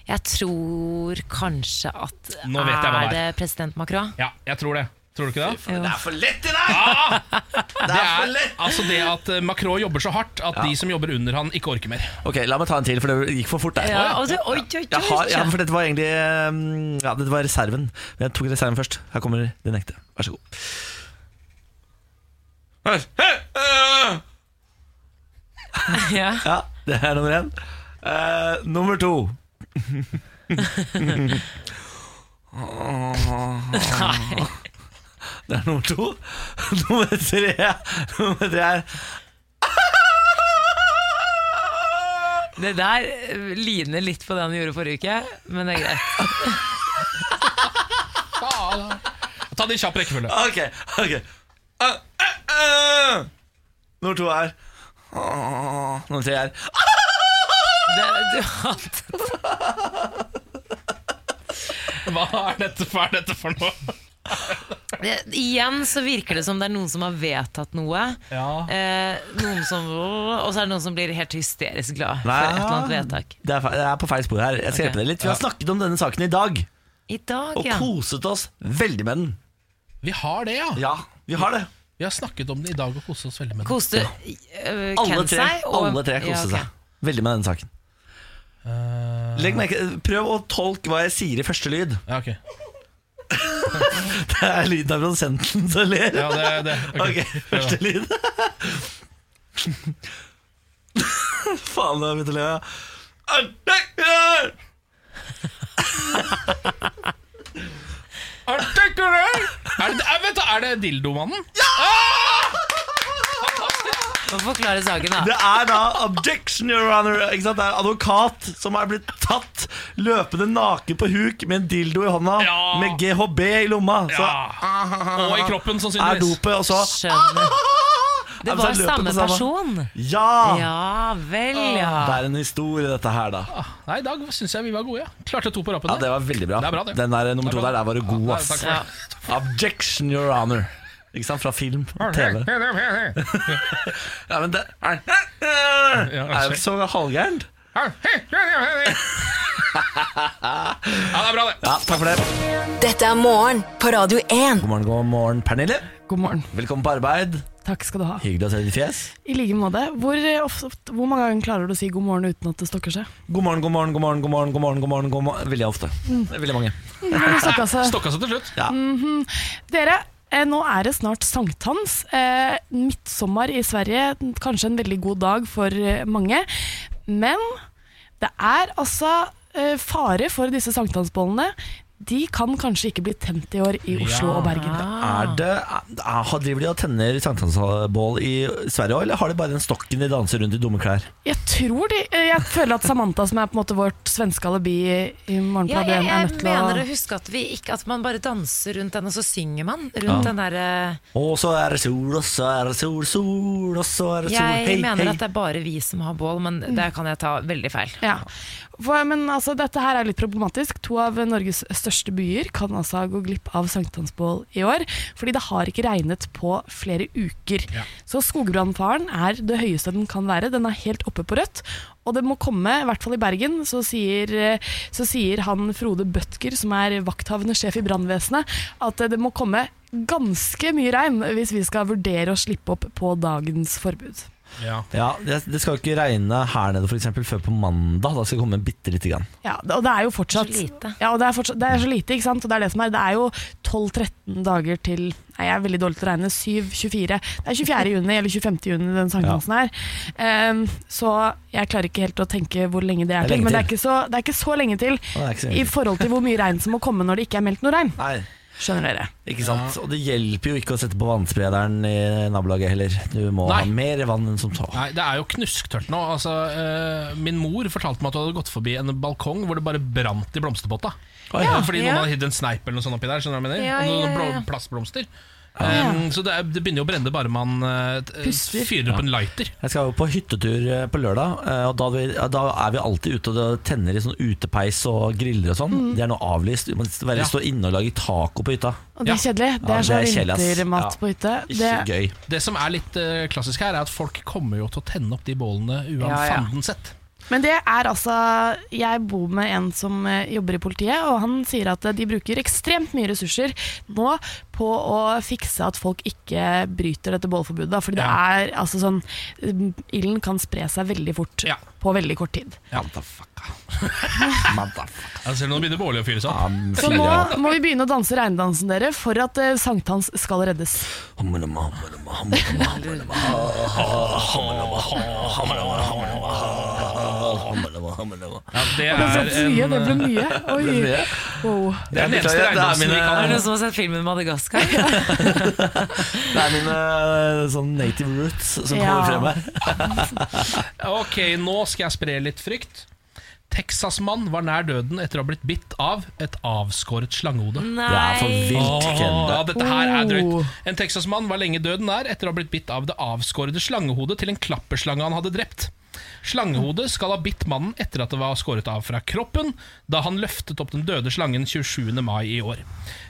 Jeg tror kanskje at Nå vet jeg hva Er det det president Macron? Ja, jeg tror det. Tror du ikke det? Det er for lett i dag! Det er altså det at eh, Macron jobber så hardt at de som jobber under han, ikke orker mer. Ok, La meg ta en til, for det gikk for fort der. Ja, og du, oi, oi, Jeg har, oi, ja, oi. for dette var egentlig eh, Ja, dette var reserven. Men jeg tok reserven først. Her kommer den ekte. Vær så god. Ja. Ja, det er nummer én. Eh, nummer to. Nei. Det er nummer to. Nummer tre Nummer tre er Det der eh, ligner litt på det han gjorde forrige uke, men det er greit. Ta det i kjapp rekkefølge. Ok, ok. Eh, eh, eh. Nummer to er Nummer tre er Det, du, hadde- Hva er dette for, er dette for noe? Det- Igjen så virker det som det er noen som har vedtatt noe. Ja. Eh, noen som, og så er det noen som blir helt hysterisk glad for Nei. et eller annet vedtak. Det er, fe- det er på feil spor her. Jeg skal Ok. hjelpe deg litt. Vi har Ja. snakket om denne saken i dag, I dag, og ja. koset oss veldig med den. Vi har det, ja. Ja, vi har det. Vi har snakket om det i dag og koste oss veldig med det. Koste øh, Alle Ken tre, seg? og- alle tre koste Ja, ok. seg veldig med denne saken. Eh. Legg merke, prøv å tolke hva jeg sier i første lyd. Ja, ok Det er lyden av produsenten som ler. Ja, det er det. Ok. ok, første lyd. Faen, jeg begynte å le. ja. Artikler! Artikler! Er det, er, vent, da, er det dildomannen? Forklare saken, da. Det er da objection, your honor. Ikke sant? Det er advokat som er blitt tatt løpende naken på huk med en dildo i hånda, Ja. med GHB i lomma. Så, Og i kroppen, Er sannsynligvis. dopet, og så Skjønner. Det Ja, men var så løper samme det samme. person. Ja! Ja vel, Det ja. er en historie, dette her, da. Nei, i dag syns jeg vi var gode. Ja. Klarte to på rappen. Ja, Det var veldig bra. Det er bra, det. Den der eh, nummer Det to er bra. der, der var du god, Ja, ass. takk for Ja. Objection, your honor. Ikke sant? Fra film, TV. Ja, men det er, er jo ikke så halvgærent. Ja, det er bra, det. Ja, takk for det. Dette er morgen på Radio 1. God morgen, god morgen, Pernille. God morgen. Velkommen på arbeid. Takk skal du ha. Hyggelig å se ditt fjes. I like måte. Hvor, eh, ofte- hvor mange ganger klarer du å si god morgen uten at det stokker seg? God morgen, god morgen, god morgen, god morgen. god morgen, god morgen, god morgen. Veldig ofte. Veldig mange. Mm, men det stokka seg. Stokka seg til slutt. Ja. Mhm. Dere, eh, nå er det snart sankthans. Eh, midtsommer i Sverige, kanskje en veldig god dag for eh, mange. Men det er altså eh, fare for disse sankthansbollene. De kan kanskje ikke bli tent i år i Oslo og Bergen. Ah. Er det, er, har- driver de og tenner sankthansbål i Sverige òg, eller har de bare den stokken de danser rundt i dumme klær? Jeg tror de eh, Jeg føler at Samantha, som er på en måte vårt svenske alibi i- i morgen på Ja, Radio jeg, 1, er jeg nødt til å mener å huske at, vi ikke, at man bare danser rundt den, og så synger man rundt Ja. den eh, derre Og så er det sol, og så er det sol, sol, og så er det sol. Jeg hei, mener hei. Mm. at det er bare vi som har bål, men der kan jeg ta veldig feil. Ja. For, men altså, dette her er litt problematisk. To av Norges største byer kan altså gå glipp av sankthansbål i år, fordi det har ikke regnet på flere uker. Så skogbrannfaren er det høyeste den kan være. Den er helt oppe på rødt. Og det må komme, i hvert fall i Bergen, så sier, så sier han Frode Bødker, som er vakthavende sjef i brannvesenet, at det må komme ganske mye regn hvis vi skal vurdere å slippe opp på dagens forbud. Ja. Ja, det, det skal jo ikke regne her nede for eksempel, før på mandag. Da skal det komme bitte lite grann. Ja, det- og det er jo fortsatt Så lite. Ja, og det er, fortsatt, det er så lite, ikke sant? Og det er det som er. Det er jo 12-13 dager til Nei, jeg er veldig dårlig til å regne. 7-24. Det er 24. juni eller 25. juni den sankthansen her. Ehm, så jeg klarer ikke helt å tenke hvor lenge det er Det er til. lenge Men det er til. ikke så, det er ikke så lenge til det er ikke så lenge i til. forhold til hvor mye regn som må komme når det ikke er meldt noe regn. Nei, Skjønner dere. ikke sant? Og det hjelper jo ikke å sette på vannsprederen i nabolaget heller. Du må Nei. ha mer vann enn som så. Nei, Det er jo knusktørt nå. Altså, eh, min mor fortalte meg at hun hadde gått forbi en balkong hvor det bare brant i blomsterpotta. ja. Fordi Ja. noen hadde hidd en sneip eller noe sånt oppi der. Skjønner du hva jeg mener? Ja, Og noen ja, ja, blå- ja. plastblomster. Eh, så det, er, det begynner jo å brenne bare man eh, t- Puster. fyrer opp en lighter. Jeg skal jo på hyttetur eh, på lørdag, eh, og da, vi, ja, da er vi alltid ute og tenner i sånn utepeis og griller og sånn. Mm. Det er nå avlyst. Man skal være Ja. stå inne og lage taco på hytta. Og det er kjedelig. Det Ja, er så det er kjedelig, ass. vintermat Ja. på hytte. Ikke Det, gøy. Det som er litt eh, klassisk her, er at folk kommer jo til å tenne opp de bålene Ja, ja. uanfanden sett. Men det er altså Jeg bor med en som eh, jobber i politiet, og han sier at eh, de bruker ekstremt mye ressurser nå på å fikse at folk ikke bryter dette bålforbudet. da, Fordi det er altså sånn mm, Ilden kan spre seg veldig fort Ja. på veldig kort tid. Ja. Jeg ser nå begynner bålet å fyres opp. Så nå må vi begynne å danse regndansen, dere, for at eh, sankthans skal reddes. Ja, det Det ble så er mye. en, Det ble eh, mye. Oi. Wow. det er den Beklager, det eneste er regndansen vi mine- kan. Er det noen som har sett filmen Madagaskar? Det er mine eh, sånn native roots som Ja. kommer frem her. Ok, nå skal jeg spre litt frykt. Texas-mann var nær døden etter å ha blitt bitt av et avskåret slangehode. Det er for Nei. vilt, Ken. ja, dette her er Oh. drøyt. En Texas-mann var lenge døden nær etter å ha blitt bitt av det avskårede slangehodet til en klapperslange han hadde drept. Slangehodet skal ha bitt mannen etter at det var skåret av fra kroppen, da han løftet opp den døde slangen 27. mai i år.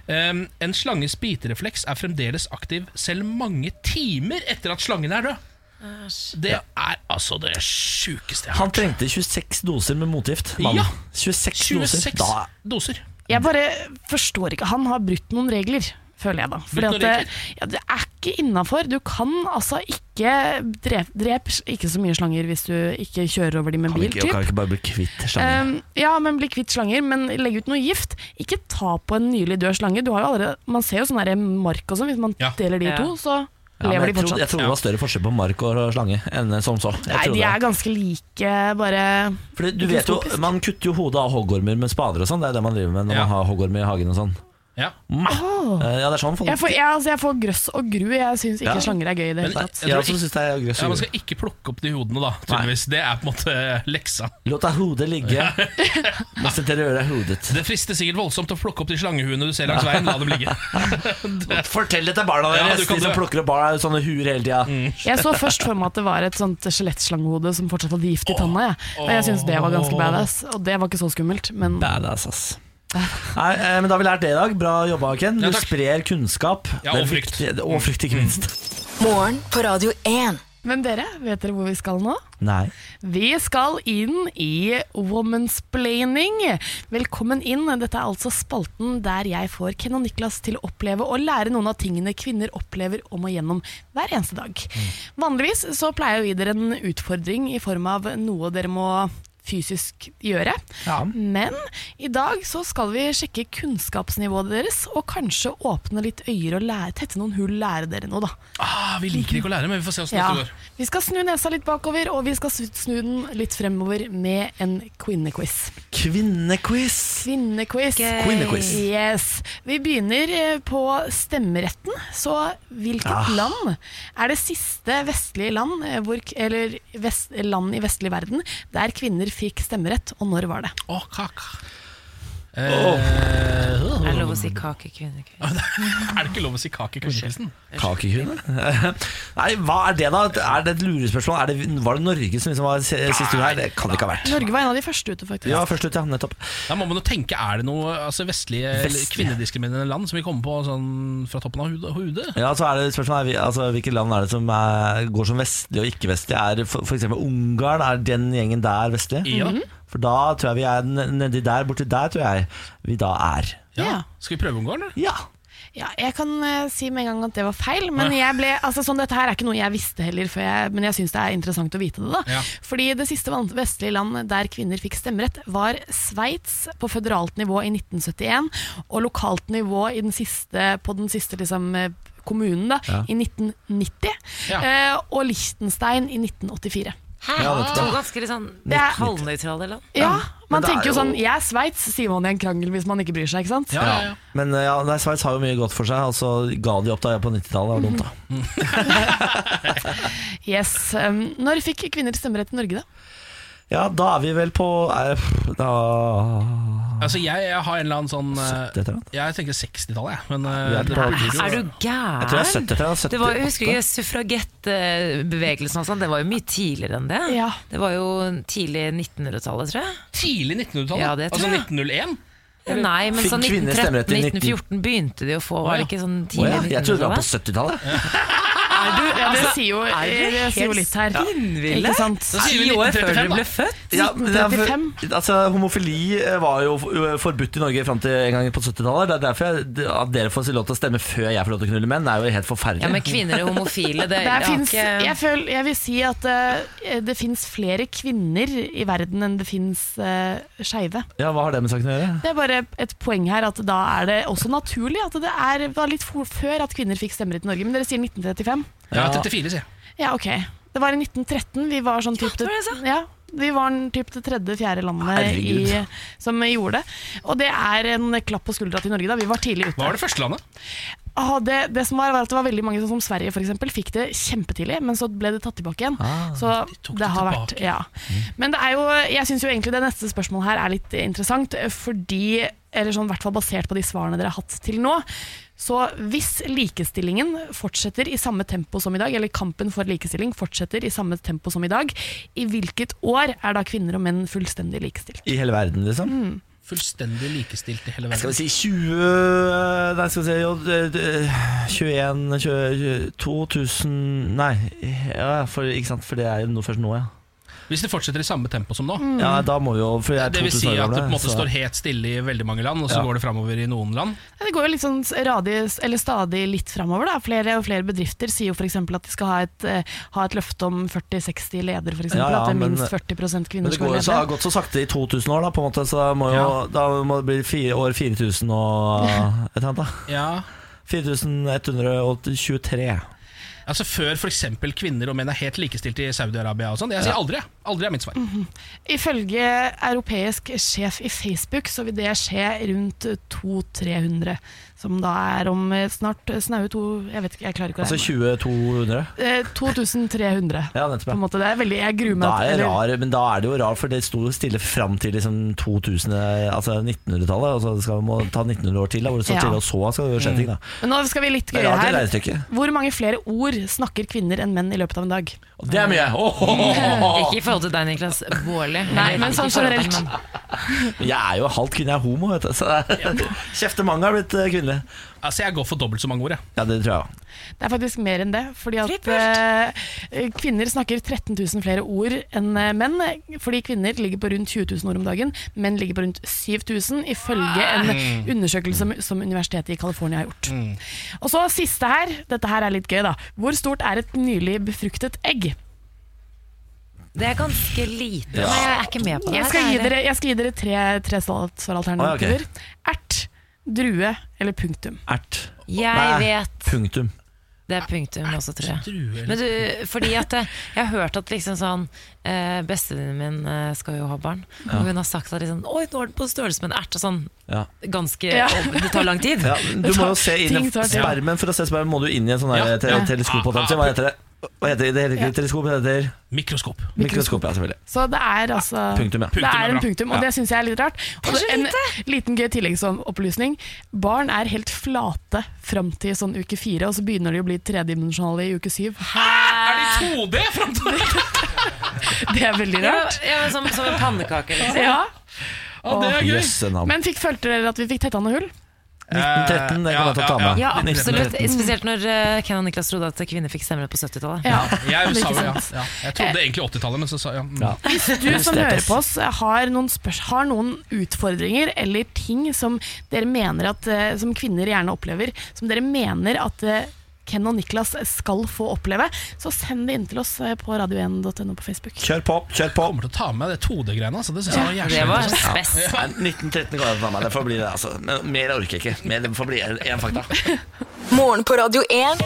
Ehm, en slanges biterefleks er fremdeles aktiv selv mange timer etter at slangen er død. Det er altså det sjukeste jeg har Han trengte 26 doser med motgift. mann. Ja. 26, 26 doser. Da doser. Jeg bare forstår ikke Han har brutt noen regler, føler jeg da. Fordi Brutt at noen det, regler? ja, det er ikke innafor. Du kan altså ikke drep, drep ikke så mye slanger hvis du ikke kjører over de med kan bil. ikke, kan typ. ikke bare bli kvitt slangen. Um, ja, men bli kvitt slanger, men legg ut noe gift. Ikke ta på en nylig død slange. Du har jo allerede, man ser jo sånn der mark og sånn, hvis man deler de Ja. i to, så Ja, men lever jeg, de trodde, fortsatt. jeg trodde det var større forskjell på mark og slange enn sånn som så. Jeg trodde Nei, de det. er ganske like, bare Fordi du vet jo, Man kutter jo hodet av hoggormer med spader og sånn. Det er det man driver med når man har hoggorm i hagen og sånn. Ja. Eh, Ja, det er sånn folk Jeg får, jeg, altså, jeg får grøss og gru. Jeg syns ikke Ja. slanger er gøy i det Men hele tatt. jeg tror ikke- det er grøss og ja, Man gru. skal ikke plukke opp de hodene, da, tydeligvis. Det er på en måte leksa. Låta hodet ligge mens dere rører hodet. Det frister sikkert voldsomt å plukke opp de slangehuene du ser langs veien. La dem ligge. Fortell det til barna Ja, deres, du kan de som dø. plukker opp barna i sånne huer hele tida. Jeg så først for meg at det var et sånt skjelettlangehode som fortsatt hadde gift i tanna. Jeg. Og jeg syns det var ganske badass. Og det var ikke så skummelt, men Badass, ass. Nei, eh, men Da har vi lært det i dag. Bra jobba, Ken. Du Ja, takk. sprer kunnskap. Ja, Det er og frykt. viktig- Og frykt, Mm. ikke minst. Morgen på Radio 1. Men dere, vet dere hvor vi skal nå? Nei. Vi skal inn i womansplaining. Velkommen inn. Dette er altså spalten der jeg får Ken og Niklas til å oppleve og lære noen av tingene kvinner opplever om og gjennom hver eneste dag. Vanligvis så pleier vi dere en utfordring i form av noe dere må fysisk gjøre. Men i dag så skal vi sjekke kunnskapsnivået deres og kanskje åpne litt øyer og lære, tette noen hull, lære dere noe, da. Ah, vi liker ikke å lære, men vi får se åssen Ja. dette går. Vi skal snu nesa litt bakover, og vi skal snu snu den litt fremover med en kvinnequiz. Kvinnequiz. Kvinnequiz. Gøy. Kvinnequiz. Yes. Vi begynner eh, på stemmeretten. Så hvilket Ah. land er det siste vestlige land, eh, hvor, k- eller vest, land i vestlig verden, der kvinner fikk stemmerett, og når var det? Å, Eh, kak. Er det lov å si kake, kvinne, kvinne? Er det ikke lov å si kake i kvinnekvisten? Kakekvinne? Nei, hva er det da? Er det et lurespørsmål? Er det, var det Norge som liksom var se- sist ut her? Det kan det ikke ha vært. Norge var en av de første ute, faktisk. Ja, først ut, ja. Nettopp. Da må man jo tenke, er det noe altså vestlige eller Vestlige. kvinnediskriminerende land som vi kommer på sånn fra toppen av hudet? hodet? Ja, så er det spørsmålet er, vi- altså, Hvilke land er det som er, går som vestlige og ikke vestlige? Er det for- for eksempel Ungarn, er den gjengen der vestlige? Ja. Mhm. For da tror jeg vi er n- nedi der, borti der tror jeg vi da er. Ja. Skal vi prøve Ungarn, eller? Ja. Ja, jeg kan eh, si med en gang at det var feil, men jeg ble, altså, sånn, dette her er ikke noe jeg visste heller, før jeg, men jeg syns det er interessant å vite det. da. Ja. Fordi det siste van- vestlige land der kvinner fikk stemmerett, var Sveits på føderalt nivå i 1971, og lokalt nivå i den siste, på den siste liksom, eh, kommunen da, Ja. i 1990, eh, og Liechtenstein i 1984. Hæ? Ja, vet du to hva. ganske litt sånn Det er- halvnøytrale land. Ja, Men man det er tenker jo sånn jo- Jeg er Sveits, sier man i en krangel hvis man ikke bryr seg, ikke sant? Men eh, ja, nei, Sveits har jo mye godt for seg, og så ga de opp da på 90-tallet. Det var dumt, da. Yes. Um, når fikk kvinner stemmerett i Norge, da? Ja, da er vi vel på er, Da Altså, jeg, jeg har en eller annen sånn eh, 70-tallet? Jeg tenker 60-tallet, jeg. Men eh, Vi er det på- blir jo- Er du gæren? Jeg tror jeg er 70, jeg er 70. Det var, jeg husker ikke suffragettbevegelsen og sånn, det var jo mye tidligere enn det. Det var jo tidlig 1900-tallet, tror jeg. Tidlig 1900-tallet? Ja, det tror altså jeg. 1901? Nei, men Fikk sånn kvinner stemmerett i 19? 1913-1914 begynte de å få, var det ikke sånn Å tidlig ja, jeg trodde det var på 1900-tallet? 70-tallet. Er du, ja, det altså, sier jo, eh, er du det sier jo helt litt her. spinnville? Ikke sant? Da sier vi Ti år før 1935, du ble da. født? Ja, men det er for- 1935. altså, homofili eh, var jo eh, forbudt i Norge fram til en gang på 70-tallet. Det er derfor jeg, det- at dere får si lov til å stemme før jeg får lov til å knulle menn, er jo helt forferdelig. Ja, men kvinner er homofile, det, Der det har finnes, ikke jeg, føl, jeg vil si at eh, det fins flere kvinner i verden enn det fins uh, skeive. Ja, Hva har det med saken å gjøre? Det er bare et poeng her at da er det også naturlig at det er, var litt for, før at kvinner fikk stemmerett i Norge. Men dere sier 1935? Ja, 34, sier jeg. Ja, ok. Det var i 1913 vi var sånn typ det, ja, vi var en typ det tredje, fjerde landet i, Herregud. som gjorde det. Og det er en klapp på skuldra til Norge, da. Vi var tidlig ute. Hva var det første landet? ah, det, det som var, var at det var veldig mange sånn som Sverige for eksempel, fikk det kjempetidlig, men så ble det tatt tilbake igjen. Ah, så det, har vært ja. Men det er jo, jeg syns jo egentlig det neste spørsmålet her er litt interessant, fordi Eller sånn i hvert fall basert på de svarene dere har hatt til nå. Så hvis likestillingen fortsetter i samme tempo som i dag, eller kampen for likestilling fortsetter i samme tempo som i dag, i hvilket år er da kvinner og menn fullstendig likestilt? I hele verden, liksom? Mm. Fullstendig likestilt i hele verden. Skal vi si 20 Nei, skal vi si jo, d- d- 21 20, 2000 Nei, ja, for, ikke sant, for det er jo noe først nå, ja. Hvis det fortsetter i samme tempo som nå. Mm. Ja, da må vi jo For jeg Mm. er det vil 2000 si år at det på en gammel, måte så- står helt stille i veldig mange land, og så Ja. går det framover i noen land. Nei, Det går jo litt sånn radig, eller stadig litt framover. Da. Flere og flere bedrifter sier jo f.eks. at de skal ha et, eh, ha et løfte om 40-60 ledere, f.eks. Ja, ja, at det er men- minst 40 Men kvinner det som går, jo er så, har ledere. gått så sakte i 2000 år, da, på en måte, så da må, jo, da må det bli fire, år 4000 og et eller annet, da. Ja. 4123. Altså Før f.eks. kvinner og menn er helt likestilt i Saudi-Arabia og sånn. Jeg sier Ja. aldri. jeg. Aldri er mitt svar. Ifølge europeisk sjef i Facebook så vil det skje rundt 200-300, som da er om eh, snart eh, snaue to Jeg vet ikke, jeg klarer ikke å Altså regne. 2200. Eh, 2300. Ja, nettopp. På en ja. måte, det er veldig, jeg gruer meg Da er til- jeg eller- rar, men da er det jo rar, for det sto jo stille fram til liksom 2000, altså 1900-tallet. Og så skal vi må ta 1900 år til, da, hvor det står Ja. stille, og så skal det skje ting. da Men nå skal vi litt Det er gøye rart det her. regnestykket. Hvor mange flere ord snakker kvinner enn menn i løpet av en dag? Det er mye! Ikke i forhold til deg, Niklas Baarli. Nei, men sånn generelt. Jeg er jo halvt kvinne, jeg er homo, vet du. Så kjeftemange er blitt eh, kvinnelig. Altså Jeg går for dobbelt så mange ord, jeg. Ja, det tror jeg. Det er faktisk mer enn det. Fordi at eh, kvinner snakker 13 000 flere ord enn eh, menn. Fordi kvinner ligger på rundt 20 000 ord om dagen, menn ligger på rundt 7000, ifølge en Mm. undersøkelse som, som universitetet i California har gjort. Mm. Og så siste her. Dette her er litt gøy, da. Hvor stort er et nylig befruktet egg? Det er ganske lite, Ja. men jeg er ikke med på det. Jeg skal gi dere, jeg skal gi dere tre, tre svar- svaralternativer. Ert, drue eller punktum. Ert. Jeg Nei, vet. Punktum. Det er punktum også, tror jeg. Men du, fordi at eh, jeg har hørt at liksom sånn eh, Bestevennen min eh, skal jo ha barn, Ja. og hun har sagt at liksom, Oi, nå er den på størrelse med en ert. Og sånn Ja. ganske Ja. og Det tar lang tid. Ja, men du må jo se inn i Ting tar tid. spermen For å se spermen må du inn i en sånn Ja. ja. te Ja. teleskop holdt jeg på å si. Hva heter det? Hva heter det? Det heter ikke teleskop, det heter Mikroskop Mikroskop, ja selvfølgelig Så det er altså Punktum, ja. Det Punktum er er en bra. punktum, og Ja. det syns jeg er litt rart. Og Det er så en liten gøy tilleggsopplysning. Barn er helt flate fram til sånn uke fire, og så begynner de å bli tredimensjonale i uke syv. Er de 2D fram til Det er veldig rart. Ja, men som, som en pannekake, liksom. Ja. Ja, det er gøy. Jøsse navn. Men fikk, følte dere at vi fikk tetta noe hull? 1913, det kan jeg ta- ta med Ja, absolutt. Spesielt når eh, Ken og Niklas trodde at kvinner fikk stemmerett på 70-tallet. Jeg, sa, jo ja. Ja. jeg trodde egentlig 80-tallet, men så sa jeg mm. Hvis du som hører på oss har noen, spørs, har noen utfordringer eller ting som dere mener at eh, Som kvinner gjerne opplever, som dere mener at eh, Ken og Niklas skal få oppleve, så send det inn til oss eh, på radio1.no på Facebook. Kjør på, kjør på Kommer til å ta med det 2D-greiene. Altså. Det synes Ja, jeg var jævlig det var interessant. spes. Ja. Nei, 1913 går jeg ta med Det får bli det altså Men mer orker jeg ikke Mer- Det får bli en fakta Morgen på Radio 1.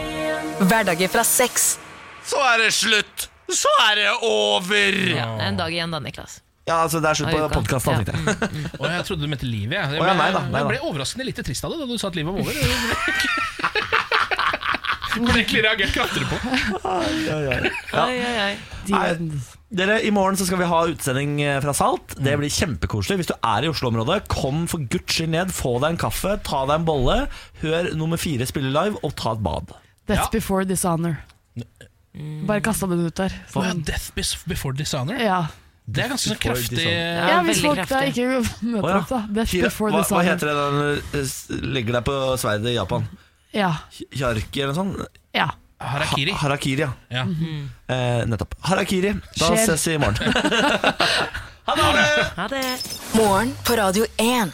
Hverdager fra seks. Så er det slutt Så er det over Ja, en dag igjen da, Niklas. Ja, altså det er slutt på Av uka. podcasten tenkte jeg Og jeg trodde du mente livet. Jeg, jeg, Å, ja, nei da, nei jeg da. ble overraskende lite trist av det da du sa at livet var over. Jeg ble egentlig reagert kraftigere på. Ja. Nei, dere, I morgen så skal vi ha utsending eh, fra Salt. Det blir kjempekoselig. Hvis du er i Oslo-området, kom for guds skyld ned. Få deg en kaffe, ta deg en bolle, hør nummer fire spille live, og ta et bad. Death before dishonor. Bare kasta den ut der. Å ja, death bes- before dishonor. Ja. Det er ganske sånn Before kraftig dishonor. Ja, hvis folk da ikke møter Å, ja. opp, da. Death Fire. before hva, hva dishonor. heter det den eh, s- legger deg på sverdet i Japan? Ja. Hjarki eller noe sånt? ja. Harakiri. Ha, harakiri, ja. Mhm. Eh, nettopp. Harakiri. Da Skjer. ses vi i morgen. Ha det. Morgen på Radio 1.